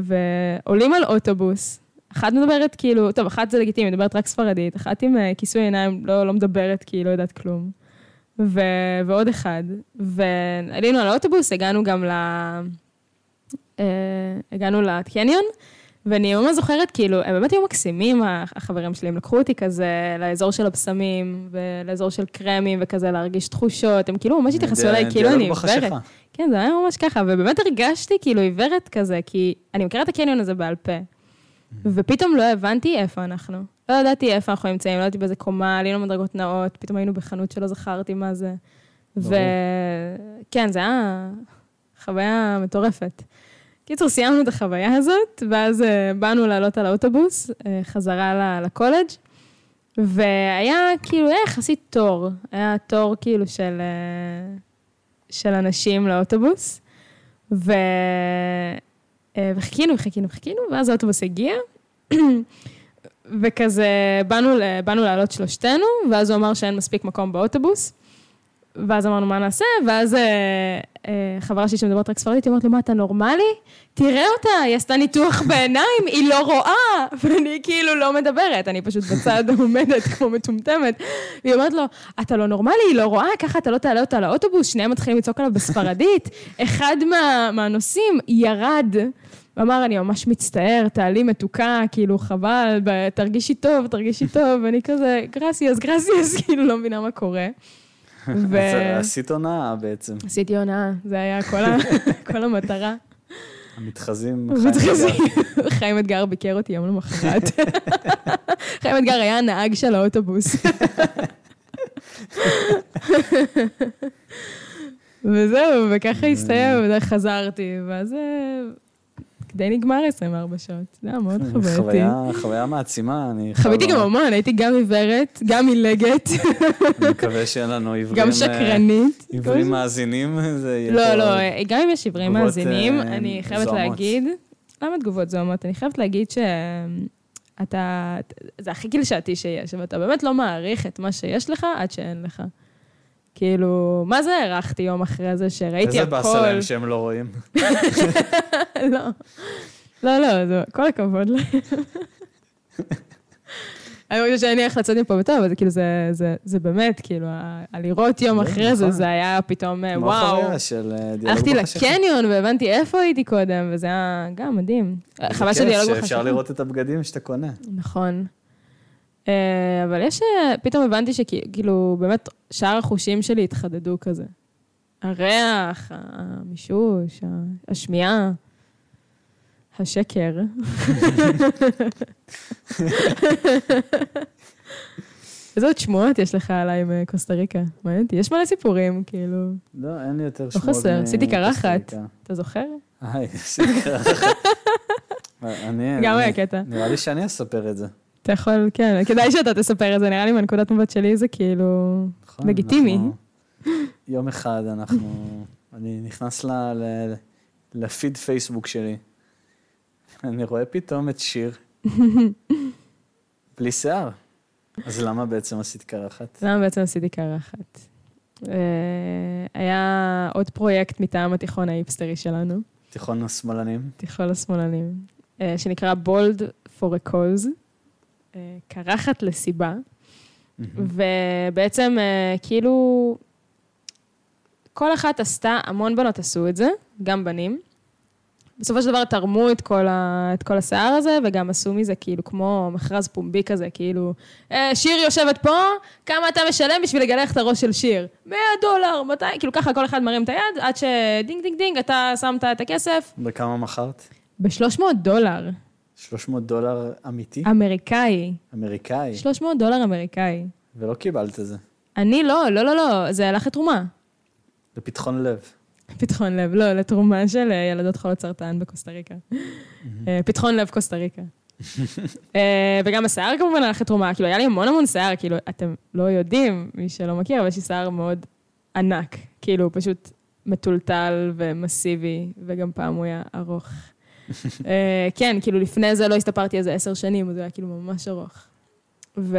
ועולים על אוטובוס. אחת מדברת כאילו, טוב, אחת זה לגיטימי, מדברת רק ספרדית, אחת עם אה, כיסוי עיניים לא, לא מדברת כי היא לא יודעת כלום. ו, ועוד אחד. ועלינו על האוטובוס, הגענו גם ל... אה, הגענו לקניון, ואני ממש זוכרת, כאילו, הם באמת היו מקסימים, ה- החברים שלי, הם לקחו אותי כזה לאזור של הבשמים, ולאזור של קרמים, וכזה להרגיש תחושות, הם כאילו ממש התייחסו אליי, דיאלוג כאילו אני עיוורת. בחשיכה. כן, זה היה ממש ככה, ובאמת הרגשתי כאילו עיוורת כזה, כי אני מכירה את הקניון הזה בעל פה. ופתאום לא הבנתי איפה אנחנו. לא ידעתי איפה אנחנו נמצאים, לא ידעתי באיזה קומה, עלינו מדרגות נאות, פתאום היינו בחנות שלא זכרתי מה זה. ברור. וכן, זה היה חוויה מטורפת. קיצור, סיימנו את החוויה הזאת, ואז אה, באנו לעלות על האוטובוס, אה, חזרה ל- לקולג', והיה כאילו, היה יחסית תור. היה תור כאילו של, אה, של אנשים לאוטובוס, ו... אה, וחיכינו, חיכינו, חיכינו, ואז האוטובוס הגיע, [clears throat] וכזה, באנו, ל- באנו לעלות שלושתנו, ואז הוא אמר שאין מספיק מקום באוטובוס. ואז אמרנו, מה נעשה? ואז אה, אה, חברה שלי שמדברת רק ספרדית, היא אומרת לו, מה, אתה נורמלי? תראה אותה, היא עשתה ניתוח בעיניים, היא לא רואה. ואני כאילו לא מדברת, אני פשוט בצד [laughs] עומדת כמו מטומטמת. והיא אומרת לו, אתה לא נורמלי, היא לא רואה, ככה אתה לא תעלה אותה לאוטובוס, שניהם מתחילים לצעוק עליו בספרדית. [laughs] אחד מה, מהנוסעים ירד. ואמר, אני ממש מצטער, תעלי מתוקה, כאילו, חבל, ב- תרגישי טוב, תרגישי טוב, ואני כזה, גרסיאס, גרסיאס, [laughs] כאילו, לא מבינה מה קורה. [laughs] ו... אז עשית הונאה בעצם. עשיתי הונאה, זה היה כל, ה... [laughs] כל המטרה. המתחזים... מתחזים. חיים אתגר ביקר אותי יום [laughs] למחרת. חיים אתגר היה הנהג של האוטובוס. וזהו, וככה אה. הסתיים, וזה חזרתי, ואז אה, די נגמר 24 שעות. זה היה מאוד [laughs] חווייתי. אה, חוויה- חוויה מעצימה, אני חייב חוויתי גם לומר. המון, הייתי גם עיוורת, [laughs] גם עילגת, אני מקווה שאין לנו עיוורים... גם אה, שקרנית. עיוורים מאזינים, זה יהיה... לא, פה- לא, אה, גם אם יש עיוורים תגובות, מאזינים, אה, אני חייבת זוהמות. להגיד... למה תגובות זוהמות? אני חייבת להגיד שאתה... זה הכי קלשעתי שיש, אבל אתה באמת לא מעריך את מה שיש לך עד שאין לך. כאילו, מה זה הארכתי יום אחרי זה שראיתי איזה הכל? אה, באסה להם שהם לא רואים. [laughs] לא, לא, לא, זה כל הכבוד [laughs] להם. אני חושבת שאני הולכת לצאת מפה בטוב, אבל זה כאילו, זה- זה- זה באמת, כאילו, ה- הלראות יום כן, אחרי זה, נכון. זה היה פתאום, אה, מה וואו. החוויה של אה, דיאלוג הלכתי כן, בחשכה? לקניון והבנתי איפה הייתי קודם, וזה היה גם מדהים. חבל זה כיף שדיאלוג בחשכה. שאפשר לראות את הבגדים שאתה קונה. נכון. אה, אבל יש... אה, פתאום הבנתי שכאילו, באמת, שאר החושים שלי התחדדו כזה. הריח, המישוש, ה- השמיעה, [laughs] השקר. איזה עוד שמועות יש לך עליי מקוסטה ריקה? מעניין אותי. יש מלא סיפורים, כאילו. לא, אין לי יותר שמות. חסר, מ- עשיתי מקוסטה קרחת. ריקה. אתה זוכר? היי, עשיתי קרחת. [laughs] אני... גם כן, אני- היה כן. קטע. נראה לי שאני אספר את זה. אתה יכול, כן, כדאי שאתה תספר את זה, נראה לי מהנקודת מבט שלי זה כאילו... נכון, לגיטימי. אנחנו- יום אחד אנחנו... אני נכנס ל- ל- לפיד פייסבוק שלי. אני רואה פתאום את שיר בלי שיער. אז למה בעצם עשית קרחת? למה בעצם עשיתי קרחת? אה, היה עוד פרויקט מטעם התיכון ההיפסטרי שלנו, תיכון השמאלנים? תיכון השמאלנים, אה, שנקרא בולד for a cause, אה, קרחת לסיבה, ובעצם אה, כאילו, כל אחת עשתה, המון בנות עשו את זה, גם בנים. בסופו של דבר תרמו את כל, ה, את כל השיער הזה, וגם עשו מזה כאילו כמו מכרז פומבי כזה, כאילו, "אה, שיר יושבת פה, כמה אתה משלם בשביל לגלח את הראש של שיר? 100 דולר, 200, כאילו ככה כל אחד מרים את היד, עד שדינג דינג דינג, אתה שמת את הכסף בכמה מכרת? ב-300 דולר, 300 דולר אמיתי? אמריקאי, אמריקאי? 300 דולר אמריקאי. ולא קיבלת את זה. אני לא, לא, לא, לא, זה הלך לתרומה. [laughs] לפתחון לב. פתחון לב, לא, לתרומה של אה, ילדות חולות סרטן בקוסטה ריקה. אה, פתחון לב קוסטה ריקה. אה, וגם השיער כמובן הלך לתרומה, כאילו, היה לי המון המון שיער, כאילו, אתם לא יודעים, מי שלא מכיר, אבל יש לי שיער מאוד ענק, כאילו, הוא פשוט מטולטל ומסיבי, וגם פעם הוא היה ארוך. [laughs] אה, כן, כאילו, לפני זה לא הסתפרתי איזה עשר שנים, אז הוא היה כאילו ממש ארוך. ו...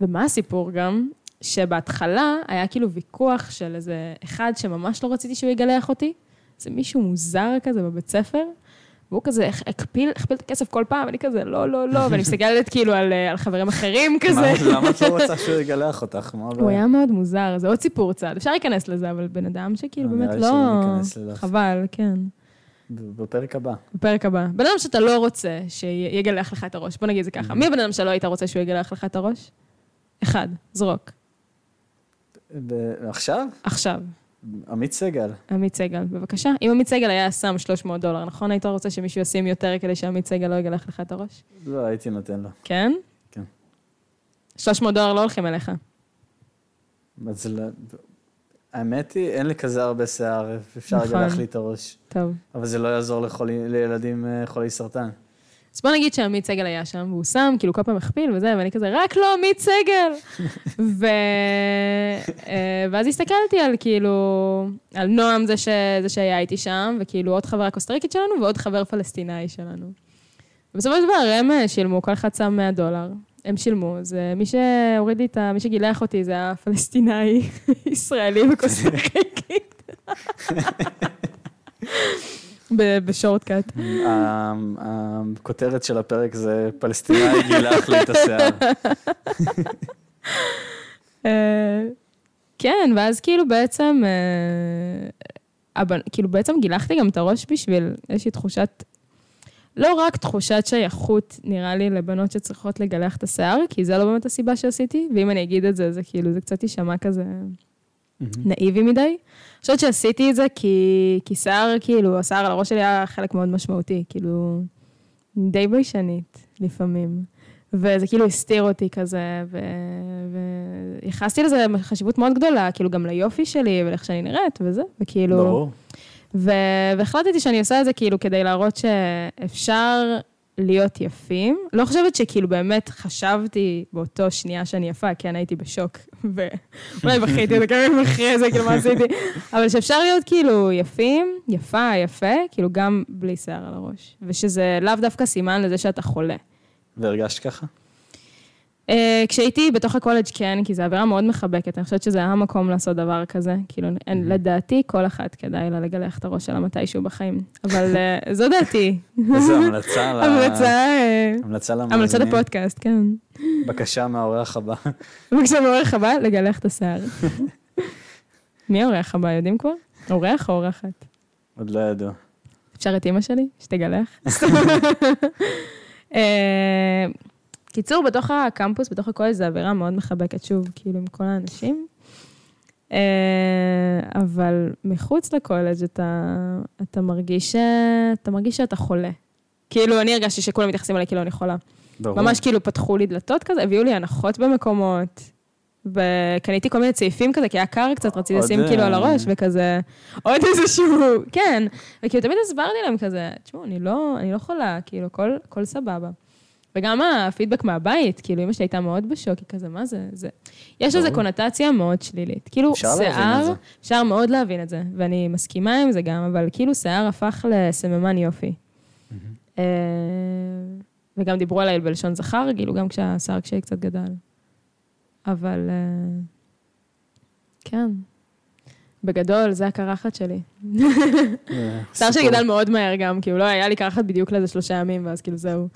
ומה הסיפור גם? שבהתחלה היה כאילו ויכוח של איזה אחד שממש לא רציתי שהוא יגלח אותי, זה מישהו מוזר כזה בבית ספר, והוא כזה הכפיל, הכפיל את הכסף כל פעם, אני כזה לא, לא, לא, ואני מסתכלת כאילו על, אה, על חברים אחרים כזה. מה- למה את [laughs] לא רוצה שהוא יגלח אותך? מה הוא הבעיה? היה מאוד מוזר, זה עוד סיפור צעד. אפשר להיכנס לזה, אבל בן אדם שכאילו לא, באמת נראה לי לא... שלא ניכנס אליו. חבל, כן. ב- בפרק הבא. בפרק הבא. בן אדם שאתה לא רוצה שיגלח לך את הראש, בוא נגיד את זה Mm-hmm. ככה. מי הבן אדם שלא היית רוצה שהוא יגלח לך את הראש? אחד, זרוק. ב- עכשיו? עכשיו. עמית סגל. עמית סגל, בבקשה. אם עמית סגל היה שם 300 דולר, נכון? היית רוצה שמישהו ישים יותר כדי שעמית סגל לא יגלח לך את הראש? לא, הייתי נותן לו. כן? כן. 300 דולר לא הולכים אליך. אז לא- האמת היא, אין לי כזה הרבה שיער, אפשר נכון. לגלח לי את הראש. טוב. אבל זה לא יעזור לחולי- לילדים אה, חולי סרטן. אז בוא נגיד שעמית סגל היה שם, והוא שם, כאילו כל פעם הכפיל וזה, ואני כזה, רק לא עמית סגל! ו... אה, ואז הסתכלתי על כאילו, על נועם זה, ש... זה שהיה איתי שם, וכאילו עוד חברה קוסטריקית שלנו ועוד חבר פלסטינאי שלנו. ובסופו של דבר הם אה, שילמו, כל אחד שם 100 דולר. הם שילמו, אז אה, מי שהוריד לי את ה... מי שגילח אותי זה היה פלסטינאי, [laughs] ישראלי וקוסטריקית. [laughs] ב- בשורט קאט. ה- הכותרת של הפרק זה פלסטינאי גילח לי את השיער. אה, כן, ואז כאילו בעצם, אה, הבנ... כאילו בעצם גילחתי גם את הראש בשביל איזושהי תחושת, לא רק תחושת שייכות, נראה לי, לבנות שצריכות לגלח את השיער, כי זה לא באמת הסיבה שעשיתי, ואם אני אגיד את זה, זה כאילו, זה קצת יישמע כזה נאיבי מדי. אני חושבת שעשיתי את זה כי, כי שיער, כאילו, השיער על הראש שלי היה חלק מאוד משמעותי, כאילו, די ביישנית לפעמים. וזה כאילו הסתיר אותי כזה, ו- וייחסתי לזה חשיבות מאוד גדולה, כאילו גם ליופי שלי ולאיך שאני נראית וזה, וכאילו... ברור. ו- והחלטתי שאני עושה את זה כאילו כדי להראות שאפשר להיות יפים. לא חושבת שכאילו באמת חשבתי באותו שנייה שאני יפה, כן הייתי בשוק, ואולי בכיתי איזה כמה ימים אחרי זה, כאילו מה עשיתי, אבל שאפשר להיות כאילו יפים, יפה, יפה, כאילו גם בלי שיער על הראש. ושזה לאו דווקא סימן לזה שאתה חולה. והרגשת ככה? Uh, כשהייתי בתוך הקולג' כן, כי זו אווירה מאוד מחבקת, אני חושבת שזה היה המקום לעשות דבר כזה. כאילו, אין, לדעתי, כל אחת כדאי לה לגלח את הראש שלה מתישהו בחיים. אבל אה, זו דעתי. איזו המלצה ל... המלצה, אה, המלצה המלצה למאזינים. לפודקאסט, כן. בקשה מהאורח הבא. בבקשה, מאורח הבא, לגלח את השיער. מי האורח הבא, יודעים כבר? אורח או אורחת? עוד לא ידעו. אפשר את אימא שלי? שתגלח. אה, קיצור, בתוך הקמפוס, בתוך הקולג' זו אווירה מאוד מחבקת, שוב, כאילו, עם כל האנשים. אה, אבל מחוץ לקולג' אתה, אתה, מרגיש, ש- אתה מרגיש שאתה חולה. כאילו, אני הרגשתי שכולם מתייחסים אליי כאילו אני חולה. ברור. ממש כאילו פתחו לי דלתות כזה, הביאו לי הנחות במקומות. וקניתי כל מיני צעיפים כזה, כי היה קר קצת, רציתי עוד, לשים כאילו על אה, הראש, וכזה, עוד איזשהו, כן. וכאילו תמיד הסברתי להם כזה, תשמעו, אני לא, אני לא חולה, כאילו, הכל, הכל סבבה. וגם הפידבק מהבית, כאילו, אמא שלי הייתה מאוד בשוק, היא כזה, מה זה? זה... יש לזה ברור. קונוטציה מאוד שלילית. כאילו, אפשר להבין את שיער, זה. אפשר מאוד להבין את זה, ואני מסכימה עם זה גם, אבל כאילו, שיער הפך לסממן יופי. אה, וגם דיברו עליי בלשון זכר, כאילו, גם כשהשיער כשהיא קצת גדל. אבל... אה, כן. בגדול, זה הקרחת שלי. אה, שיער שלי סיפור. גדל מאוד מהר גם, כאילו, לא היה לי קרחת בדיוק לאיזה שלושה ימים, ואז כאילו, זהו.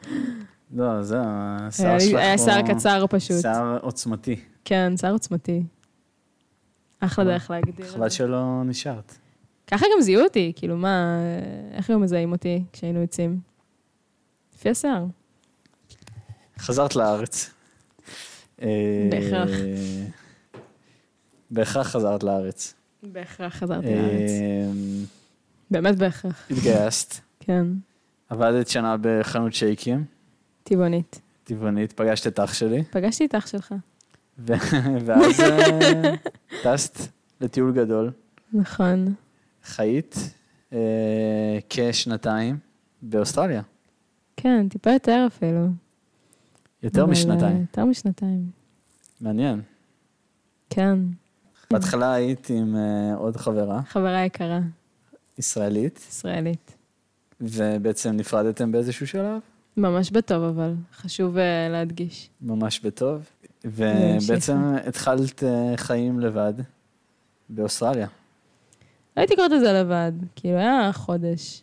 לא, זהו, השיער היה לי- שלך פה... אה, היה שיער קצר פשוט. שיער עוצמתי. כן, שיער עוצמתי. אחלה דרך להגדיר את חבל זה. שלא נשארת. ככה גם זיהו אותי, כאילו, מה, איך היו מזהים אותי כשהיינו יוצאים? לפי השיער. חזרת לארץ. אה, בהכרח. בהכרח חזרת לארץ. בהכרח חזרתי לארץ. אה, באמת בהכרח, התגייסת, כן. עבדת שנה בחנות שייקים, טבעונית. טבעונית, פגשת את אח שלי, פגשתי את אח שלך. ו- ואז אה, טסת לטיול גדול, נכון. חיית אה, כשנתיים באוסטרליה, כן, טיפה יותר אפילו. יותר אבל, אה, משנתיים, יותר משנתיים, מעניין. כן. בהתחלה היית עם אה, עוד חברה חברה יקרה, ישראלית, ישראלית. ובעצם נפרדתם באיזשהו שלב, ממש בטוב, אבל חשוב אה, להדגיש. ממש בטוב, והמשיכה. ובעצם התחלת אה, חיים לבד באוסטרליה, לא הייתי קוראת לזה לבד, כאילו, היה חודש.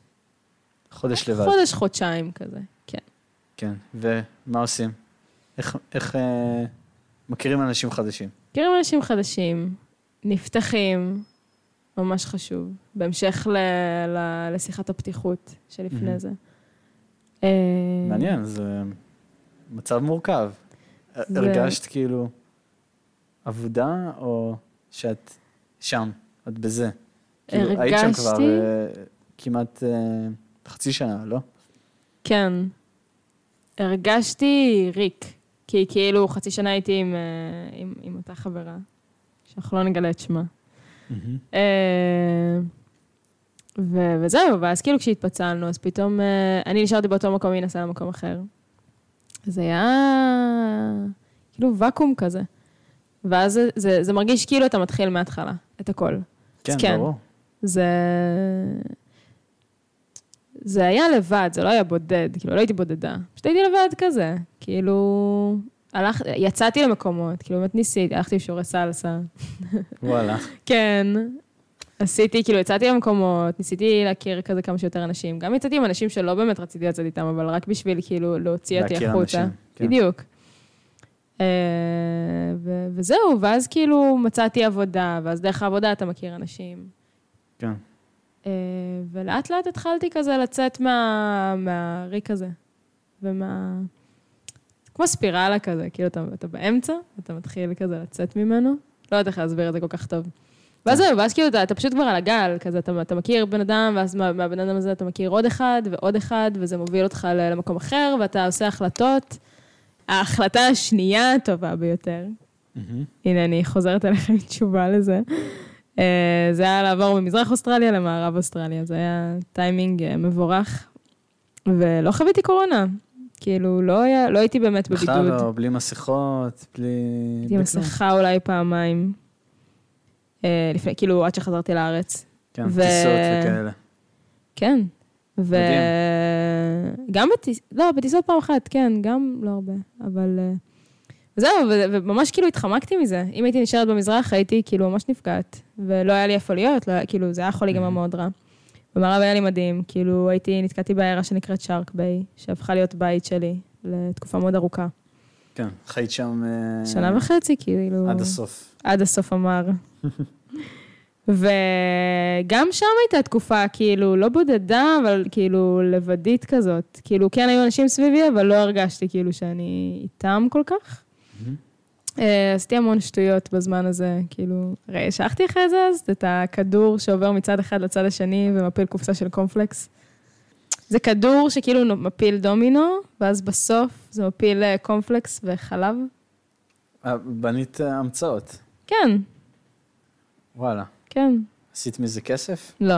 חודש לבד. אה, חודש, חודשיים כזה, כן. כן, ומה עושים? איך, איך אה, מכירים אנשים חדשים? מכירים אנשים חדשים, נפתחים, ממש חשוב. בהמשך ל, ל, לשיחת הפתיחות מהמם. שלפני זה. אה, מעניין, זה מצב מורכב. אה, זה- הרגשת כאילו עבודה או שאת שם? את בזה. כאילו, היית שם כבר הרגשתי- אה, כמעט אה, חצי שנה, לא? כן. הרגשתי ריק, כי כאילו חצי שנה הייתי עם, אה, עם, עם אותה חברה, שאנחנו לא נגלה את שמה. Mm-hmm. אה, ו- וזהו, ואז כאילו כשהתפצלנו, אז פתאום אה, אני נשארתי באותו מקום, היא נסעה למקום אחר. זה היה כאילו ואקום כזה. ואז זה, זה, זה מרגיש כאילו אתה מתחיל מההתחלה, את הכל. אז כן, כן. ברור. זה... זה היה לבד, זה לא היה בודד, כאילו, לא הייתי בודדה. פשוט הייתי לבד כזה, כאילו... הלך, יצאתי למקומות, כאילו, באמת ניסיתי, הלכתי לשיעורי סלסה. וואלה. כן. עשיתי, כאילו, יצאתי למקומות, ניסיתי להכיר כזה כמה שיותר אנשים. גם יצאתי עם אנשים שלא באמת רציתי לצאת איתם, אבל רק בשביל, כאילו, להוציא אותי להכיר החוצה. אנשים, כן. בדיוק. אה, ו- וזהו, ואז כאילו מצאתי עבודה, ואז דרך העבודה אתה מכיר אנשים. כן. אה, ולאט לאט התחלתי כזה לצאת מה... מהריק הזה. ומה... זה כמו ספירלה כזה, כאילו אתה, אתה באמצע, אתה מתחיל כזה לצאת ממנו. לא יודעת איך להסביר את זה כל כך טוב. ואז זהו, ואז כאילו אתה, אתה פשוט כבר על הגל, כזה אתה, אתה מכיר בן אדם, ואז מה- מהבן אדם הזה אתה מכיר עוד אחד ועוד אחד, וזה מוביל אותך ל- למקום אחר, ואתה עושה החלטות. ההחלטה השנייה הטובה ביותר, Mm-hmm. הנה, אני חוזרת אליך עם תשובה לזה. אה, זה היה לעבור ממזרח אוסטרליה למערב אוסטרליה, זה היה טיימינג אה, מבורך. ולא חוויתי קורונה. כאילו, לא, היה, לא הייתי באמת בבידוד. בכלל לא, בלי מסכות, בלי... הייתי בלי עם כלום. מסכה אולי פעמיים. אה, לפני, כאילו, עד שחזרתי לארץ. כן, ו- טיסות וכאלה. כן. ו... מדהים. גם בטיסות, לא, בטיסות פעם אחת, כן, גם לא הרבה, אבל... אה, זהו, ו- וממש כאילו התחמקתי מזה. אם הייתי נשארת במזרח, הייתי כאילו ממש נפגעת. ולא היה לי איפה להיות, לא היה, כאילו, זה היה יכול להיגמר Mhm. מאוד רע. במערב היה לי מדהים, כאילו, הייתי, נתקעתי בעיירה שנקראת שרק ביי, שהפכה להיות בית שלי לתקופה מאוד ארוכה. כן, חיית שם... אה, שנה וחצי, כאילו... עד הסוף. עד הסוף אמר. וגם שם הייתה תקופה, כאילו, לא בודדה, אבל כאילו לבדית כזאת. כאילו, כן היו אנשים סביבי, אבל לא הרגשתי כאילו שאני איתם כל כך. אה, עשיתי המון שטויות בזמן הזה, כאילו, הרי שלחתי לך את זה אז, את הכדור שעובר מצד אחד לצד השני ומפיל קופסה של קומפלקס. זה כדור שכאילו נו- מפיל דומינו, ואז בסוף זה מפיל אה, קומפלקס וחלב. אה, בנית אה, המצאות. כן, וואלה. כן, עשית מזה כסף? לא.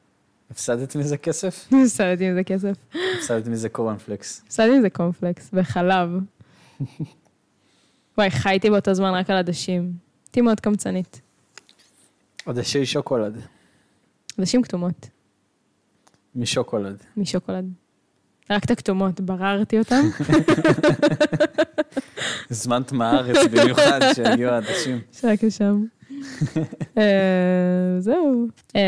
[laughs] הפסדת מזה כסף? הפסדתי עם זה כסף. הפסדת מזה קורנפלקס. הפסדתי עם זה קורנפלקס וחלב. וואי, חייתי באותו זמן רק על עדשים. הייתי מאוד קמצנית. עדשי שוקולד. עדשים כתומות, משוקולד. משוקולד. רק את הכתומות, בררתי אותם. הזמנת מהארץ [laughs] במיוחד שהגיעו העדשים. שרק לשם. אה, זהו. אה,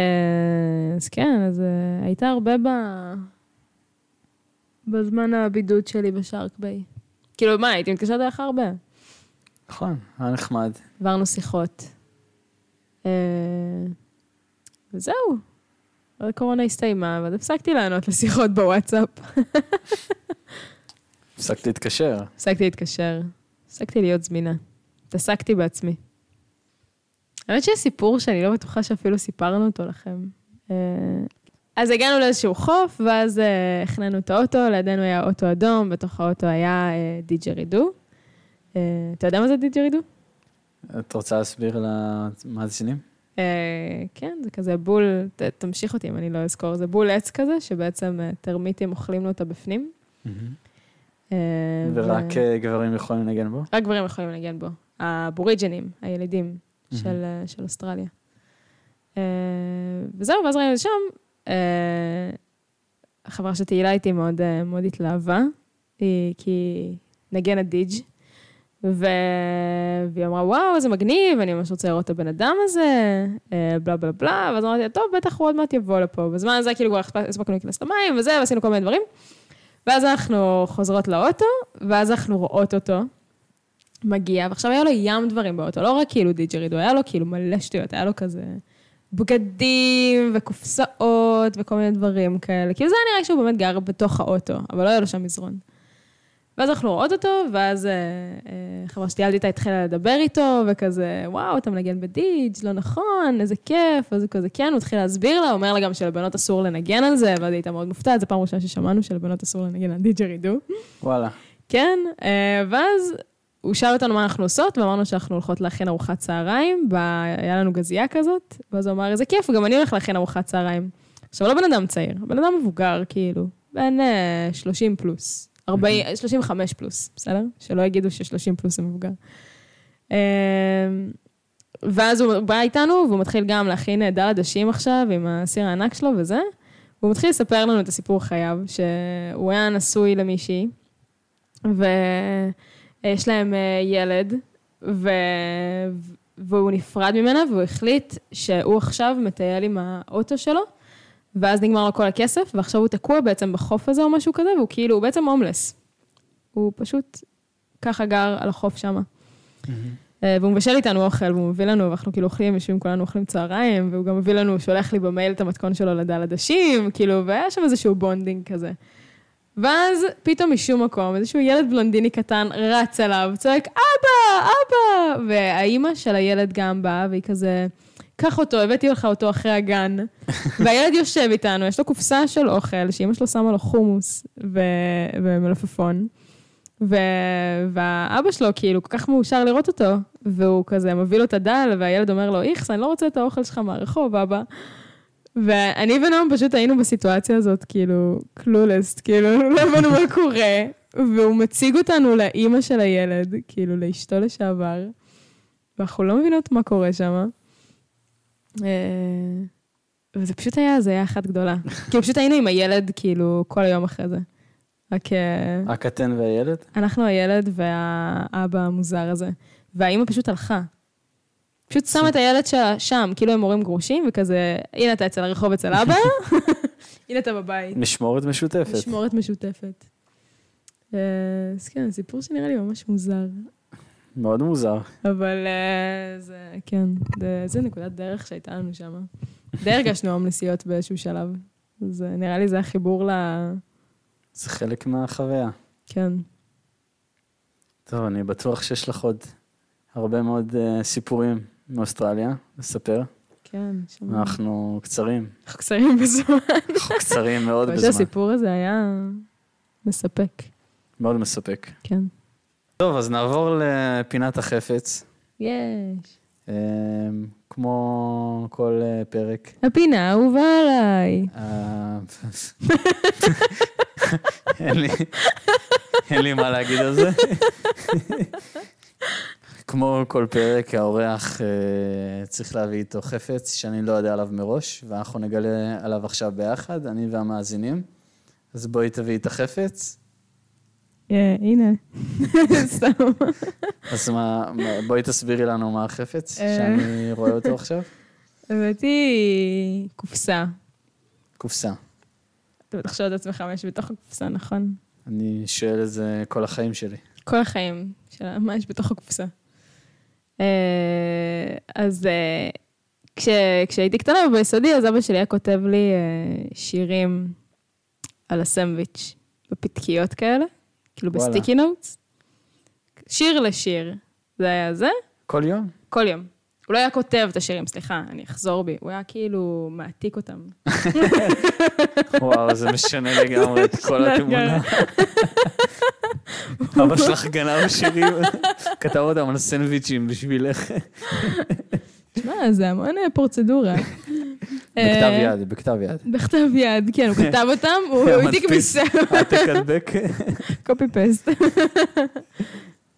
אז כן, אז אה, הייתה הרבה ב... בזמן הבידוד שלי בשארק ביי. כאילו, מה, הייתי מתקשרת אליך הרבה. נכון, היה נחמד. עברנו שיחות. אה, וזהו. אבל הקורונה הסתיימה, ואז הפסקתי לענות לשיחות בוואטסאפ. הפסקת להתקשר. הפסקתי להתקשר. הפסקתי להיות זמינה. התעסקתי בעצמי. האמת שיש סיפור שאני לא בטוחה שאפילו סיפרנו אותו לכם. אה, אז הגענו לאיזשהו חוף, ואז אה, החננו את האוטו, לידינו היה אוטו אדום, בתוך האוטו היה אה, דיג'רידו. אה, אתה יודע מה זה דיג'רידו? את רוצה להסביר למאזינים? אה, כן, זה כזה בול, ת, תמשיך אותי אם אני לא אזכור, זה בול עץ כזה, שבעצם אה, טרמיטים אוכלים לו אותה בפנים. אה, ורק אה, גברים יכולים לנגן בו? רק גברים יכולים לנגן בו. הבוריג'נים, הילידים Mhm. של, אה, של אוסטרליה. אה, וזהו, ואז ראינו את זה שם. אה, החברה שתהילה איתי מאוד, אה, מאוד התלהבה, היא- כי היא נגנת דיג' ו... והיא אמרה, וואו, איזה מגניב, אני ממש רוצה לראות את הבן אדם הזה, אה, בלה בלה בלה, ואז אמרתי, טוב, בטח הוא עוד מעט יבוא לפה. בזמן הזה כאילו כבר הספק- הספקנו להיכנס למים וזה, ועשינו כל מיני דברים. ואז אנחנו חוזרות לאוטו, ואז אנחנו רואות אותו מגיע, ועכשיו היה לו ים דברים באוטו, לא רק כאילו דיג'רידו, היה לו כאילו מלא שטויות, היה לו כזה בגדים וקופסאות וכל מיני דברים כאלה. כאילו זה היה נראה שהוא באמת גר בתוך האוטו, אבל לא היה לו שם מזרון. ואז אנחנו רואות אותו, ואז אה, אה, חברה שטיילתי איתה התחילה לדבר איתו, וכזה, וואו, אתה מנגן בדיג', לא נכון, איזה כיף, אז הוא כזה, כן, הוא התחיל להסביר לה, אומר לה גם שלבנות אסור לנגן על זה, ואז היא הייתה מאוד מופתעת, זו פעם ראשונה ששמענו שלבנות אסור לנגן על דיג'רידו. וואלה. כן, אה, ואז הוא שאל אותנו מה אנחנו עושות, ואמרנו שאנחנו הולכות להכין ארוחת צהריים, ב... היה לנו גזייה כזאת, ואז הוא אמר, איזה כיף, גם אני הולך להכין ארוחת צהריים. עכשיו, לא בן אדם צעיר, בן אדם מבוגר, כאילו, בן אה, 30 פלוס, 40, 35 פלוס, בסדר? שלא יגידו ש-30 פלוס זה מבוגר. אה, ואז הוא בא איתנו, והוא מתחיל גם להכין אה, דל עדשים עכשיו, עם הסיר הענק שלו וזה, והוא מתחיל לספר לנו את הסיפור חייו, שהוא היה נשוי למישהי, ויש להם אה, ילד, ו... והוא נפרד ממנה, והוא החליט שהוא עכשיו מטייל עם האוטו שלו, ואז נגמר לו כל הכסף, ועכשיו הוא תקוע בעצם בחוף הזה או משהו כזה, והוא כאילו, הוא בעצם הומלס. הוא פשוט ככה גר על החוף שמה. אה, והוא מבשל איתנו אוכל, והוא מביא לנו, ואנחנו כאילו אוכלים, יושבים כולנו אוכלים צהריים, והוא גם מביא לנו, הוא שולח לי במייל את המתכון שלו לדל עדשים, כאילו, והיה שם איזשהו בונדינג כזה. ואז פתאום משום מקום, איזשהו ילד בלונדיני קטן רץ אליו, צועק, אבא, אבא! והאימא של הילד גם באה, והיא כזה, קח אותו, הבאתי לך אותו אחרי הגן. והילד יושב איתנו, יש לו קופסה של אוכל, שאימא שלו שמה לו חומוס ו... ומלפפון. ו... והאבא שלו כאילו כל כך מאושר לראות אותו, והוא כזה מביא לו את הדל, והילד אומר לו, איכס, אני לא רוצה את האוכל שלך מהרחוב, אבא. ואני ונועם פשוט היינו בסיטואציה הזאת, כאילו, קלולסט, כאילו, [laughs] לא הבנו מה קורה. והוא מציג אותנו לאימא של הילד, כאילו, לאשתו לשעבר, ואנחנו לא מבינות מה קורה שם. אה, וזה פשוט היה הזיה אחת גדולה. [laughs] כאילו, פשוט היינו עם הילד, כאילו, כל היום אחרי זה. רק... אה, הקטן והילד? אנחנו הילד והאבא המוזר הזה. והאימא פשוט הלכה. פשוט שמה את הילד שלה שם, כאילו הם הורים גרושים, וכזה, הנה אתה אצל הרחוב אצל אבא, הנה אתה בבית. משמורת משותפת. משמורת משותפת. אה, אז כן, סיפור שנראה לי ממש מוזר. מאוד מוזר. אבל אה, זה, כן, זה- זה נקודת דרך שהייתה לנו שם. די הרגשנו הומלסיות באיזשהו שלב. אז אה, נראה לי זה החיבור ל... זה חלק מהחוויה. כן. טוב, אני בטוח שיש לך עוד הרבה מאוד אה, סיפורים מאוסטרליה לספר. כן, שם. אנחנו קצרים. אנחנו קצרים בזמן. אנחנו [laughs] קצרים מאוד אבל בזמן. שהסיפור הזה היה מספק, מאוד מספק. כן. טוב, אז נעבור לפינת החפץ. יש. אה, כמו כל אה, פרק. הפינה האהובה עליי. אה, אין לי, אין לי מה להגיד על זה. כמו כל פרק, האורח אה, צריך להביא איתו חפץ שאני לא יודע עליו מראש, ואנחנו נגלה עליו עכשיו ביחד, אני והמאזינים. אז בואי תביאי את החפץ. אה, הנה. [laughs] סתם. אז מה, מה- בואי תסבירי לנו מה החפץ אה. שאני רואה אותו עכשיו. הבאתי קופסה. קופסה. אתה תחשוב את עצמך מה יש בתוך הקופסה, נכון? אני שואל את זה כל החיים שלי. כל החיים שלה, מה יש בתוך הקופסה. אה, אז אה, כש, כשהייתי קטנה וביסודי, אז אבא שלי היה כותב לי אה, שירים על הסנדוויץ', בפתקיות כאלה, כאילו וואלה. בסטיקי נוטס. שיר לשיר, זה היה זה, כל יום? כל יום. הוא לא היה כותב את השירים, סליחה, אני אחזור בי. הוא היה כאילו מעתיק אותם. [laughs] וואו, זה משנה לגמרי את [laughs] כל התמונה. אבא שלך גנב שירים, [laughs] כתב אותם על סנדוויצ'ים בשבילך. תשמע, זה המון אה, פרוצדורה. בכתב אה, יד, בכתב יד. בכתב יד, כן, הוא [laughs] כתב אותם, הוא היה העתיק מדפיס. [laughs] מספר. העתק הדבק. קופי פסט. [laughs]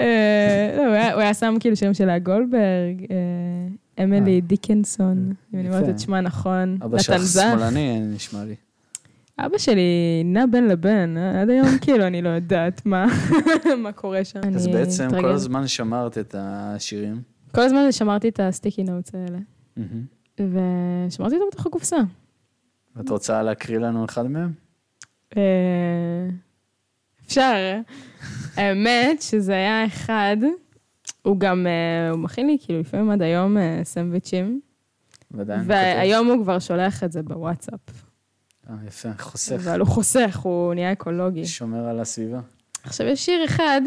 אה, לא, הוא היה- הוא היה שם כאילו שירים של לאה גולדברג, אה, אמילי דיקנסון, אם אני אומרת יפה. את שמה נכון, אבא שלך נתן זך. שמאלני, אה, נשמע לי. אבא שלי נע בין לבין, אה, עד היום [laughs] כאילו אני לא יודעת מה [laughs] מה קורה שם. אז אני בעצם כל אתרגל. הזמן שמרת את השירים. כל הזמן שמרתי את הסטיקי נוטס האלה, ושמרתי אותם בתוך הקופסה. את רוצה להקריא לנו אחד מהם? אה, אפשר. האמת שזה היה אחד, הוא גם, אה, הוא מכין לי כאילו לפעמים עד היום אה, סנדוויצ'ים, ודאי. אני והיום הוא כבר שולח את זה בוואטסאפ. כותב. אה, יפה, חושף. אבל הוא חוסך, הוא נהיה אקולוגי. שומר על הסביבה. עכשיו, יש שיר אחד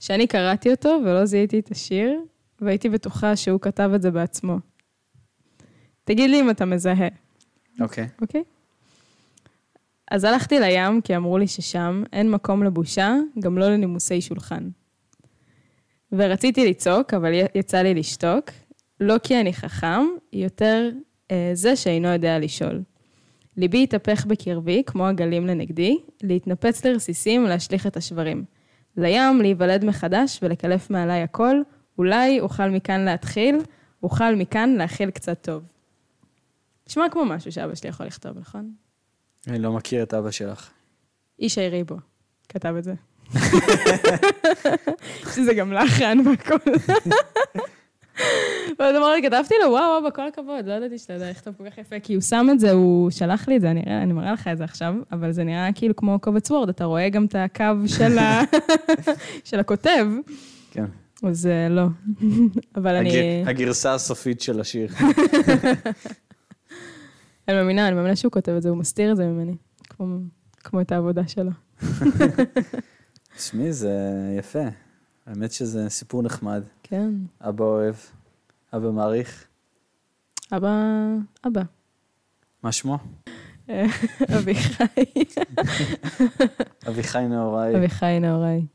שאני קראתי אותו ולא זיהיתי את השיר, והייתי בטוחה שהוא כתב את זה בעצמו. תגיד לי אם אתה מזהה, אוקיי. אוקיי? אז הלכתי לים, כי אמרו לי ששם אין מקום לבושה, גם לא לנימוסי שולחן. ורציתי לצעוק, אבל י- יצא לי לשתוק, לא כי אני חכם, יותר אה, זה שאינו יודע לשאול. ליבי התהפך בקרבי, כמו הגלים לנגדי, להתנפץ לרסיסים ולהשליך את השברים. לים, להיוולד מחדש ולקלף מעליי הכל, אולי אוכל מכאן להתחיל, אוכל מכאן להכיל קצת טוב. נשמע כמו משהו שאבא שלי יכול לכתוב, נכון? אני לא מכיר את אבא שלך. ישי ריבו כתב את זה. שזה גם לחן והכל. ואז אמרתי, כתבתי לו, וואו, אבא, כל הכבוד, לא ידעתי שאתה יודע לכתוב כל כך יפה, כי הוא שם את זה, הוא שלח לי את זה, אני, אני מראה לך את זה עכשיו, אבל זה נראה כאילו כמו קובץ וורד, אתה רואה גם את הקו של, ה... של הכותב, כן. אז אה, לא. [laughs] אבל אני, הגר- הגרסה הסופית של [laughs] השיר. אני מאמינה, אני מאמינה שהוא כותב את זה, הוא מסתיר את זה ממני, כמו, כמו את העבודה שלו. תשמעי, זה יפה. האמת שזה סיפור נחמד. כן, אבא אוהב, אבא מעריך. אבא, אבא. מה שמו? אה, אביחי. אביחי נהוראי. אביחי נאורי.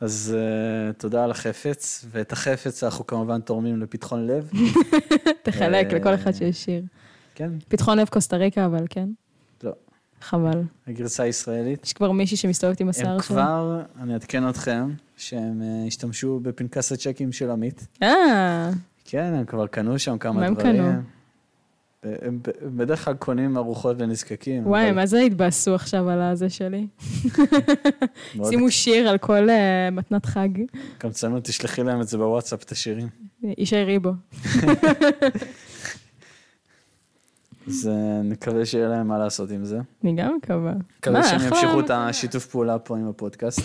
אז uh, תודה על החפץ, ואת החפץ אנחנו כמובן תורמים לפתחון [laughs] לב. תחלק אה, לכל אחד שיש שיר. כן, פתחון לב קוסטה ריקה, אבל כן? לא. חבל. הגרסה הישראלית. יש כבר מישהי שמסתובבת עם הם השיער שלו. כבר, אני אעדכן אתכם, שהם אה, השתמשו בפנקס הצ'קים של עמית. אה, כן, הם כבר קנו שם מה כמה הם דברים. קנו? אה, הם ב- הם בדרך כלל קונים ארוחות לנזקקים. וואי, אבל מה זה התבאסו עכשיו על הזה שלי? מאוד- שימו שיר על כל אה, מתנת חג. קמצנות, תשלחי להם את זה בוואטסאפ, את השירים. ישי ריבו. אז אה, נקווה שיהיה להם מה לעשות עם זה. אני גם מקווה. מקווה מה, נכון. שהם אחלה, ימשיכו את מקווה. השיתוף פעולה פה עם [laughs] הפודקאסט.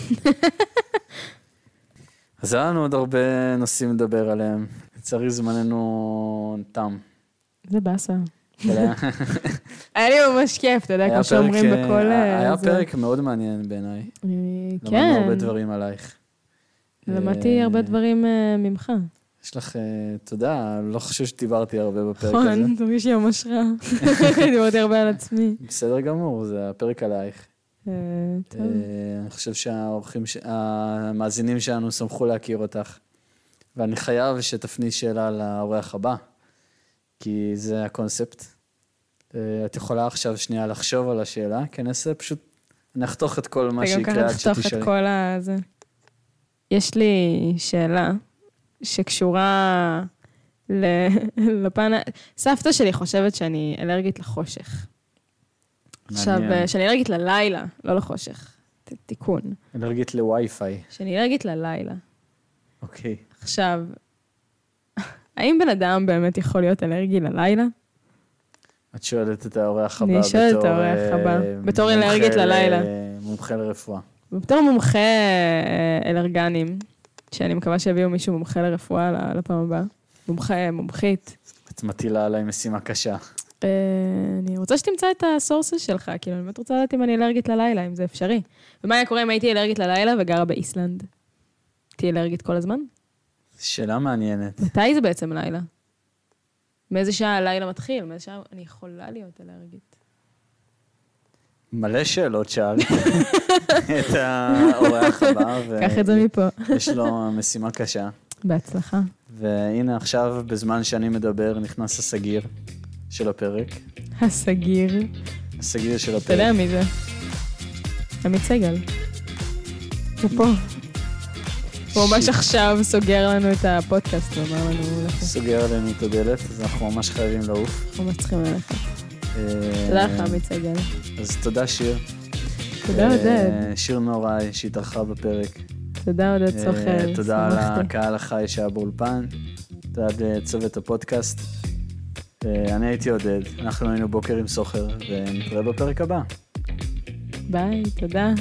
אז היה לנו עוד הרבה נושאים לדבר עליהם. לצערי זמננו [laughs] תם. זה באסה. אבל היה- היה לי ממש כיף, אתה יודע, היה כמו שאומרים פרק, אה, בכל... אה, היה זה. פרק מאוד מעניין בעיניי. אני- למדנו הרבה כן, דברים עלייך. למדתי אה, הרבה דברים אה, ממך. יש לך אה, תודה, לא חושב שדיברתי הרבה בפרק הזה. נכון, זה מרגיש לי ממש רע. [laughs] דיברתי הרבה על עצמי. בסדר גמור, זה הפרק עלייך. אה, טוב. אה, אני חושב שהאורחים, ש- המאזינים שלנו שמחו להכיר אותך. ואני חייב שתפני שאלה לאורח הבא, כי זה הקונספט. אה, את יכולה עכשיו שנייה לחשוב על השאלה, כי אני אעשה פשוט, נחתוך את כל מה אתה גם ככה שיקרה עד תחתוך שתשאלי. את כל ה... זה. יש לי שאלה שקשורה ל... [laughs] לפן... ה- סבתא שלי חושבת שאני אלרגית לחושך. עכשיו, מעניין. אה, שאני אלרגית ללילה, לא לחושך. ת- תיקון. אלרגית לווי-פיי. שאני אלרגית ללילה. אוקיי. עכשיו, [laughs] האם בן אדם באמת יכול להיות אלרגי ללילה? את שואלת את האורח הבא אני שואלת את בתור, האורח אה, הבא. בתור מומחה אלרגית ל- ללילה. מומחה לרפואה. בתור מומחה אה, אלרגנים, שאני מקווה שיביאו מישהו מומחה לרפואה ל- לפעם הבאה. מומחה, מומחית. את מטילה עליי משימה קשה. אה, אני רוצה שתמצא את הסורסס שלך, כאילו, אני באמת רוצה לדעת אם אני אלרגית ללילה, אם זה אפשרי. ומה היה קורה אם הייתי אלרגית ללילה וגרה באיסלנד? תהיי אלרגית כל הזמן? שאלה מעניינת. מתי זה בעצם לילה? מאיזה שעה הלילה מתחיל? מאיזה שעה אני יכולה להיות אלרגית? מלא שאלות שאל [laughs] את האורח הבא, קח את זה מפה. ויש לו משימה קשה. אה, בהצלחה. והנה עכשיו, בזמן שאני מדבר, נכנס הסגיר של הפרק. הסגיר. הסגיר של אתה יודע הפרק. מי זה? עמית סגל. הוא פה. הוא ממש עכשיו סוגר לנו את הפודקאסט ואומר לנו, "לכו, סוגר עלינו את הדלת, אז אנחנו ממש חייבים לעוף. אנחנו ממש צריכים ללכת. אה, תודה לך, עמית סגל. אז תודה שיר. תודה, אה, עודד. שיר נוראי שהתארחה בפרק. תודה, עודד אה, סוחר. תודה על שמחתי. הקהל החי שהיה באולפן, תודה לצוות הפודקאסט. אה, אני הייתי עודד, אנחנו היינו בוקר עם סוחר, ונתראה בפרק הבא. ביי, תודה.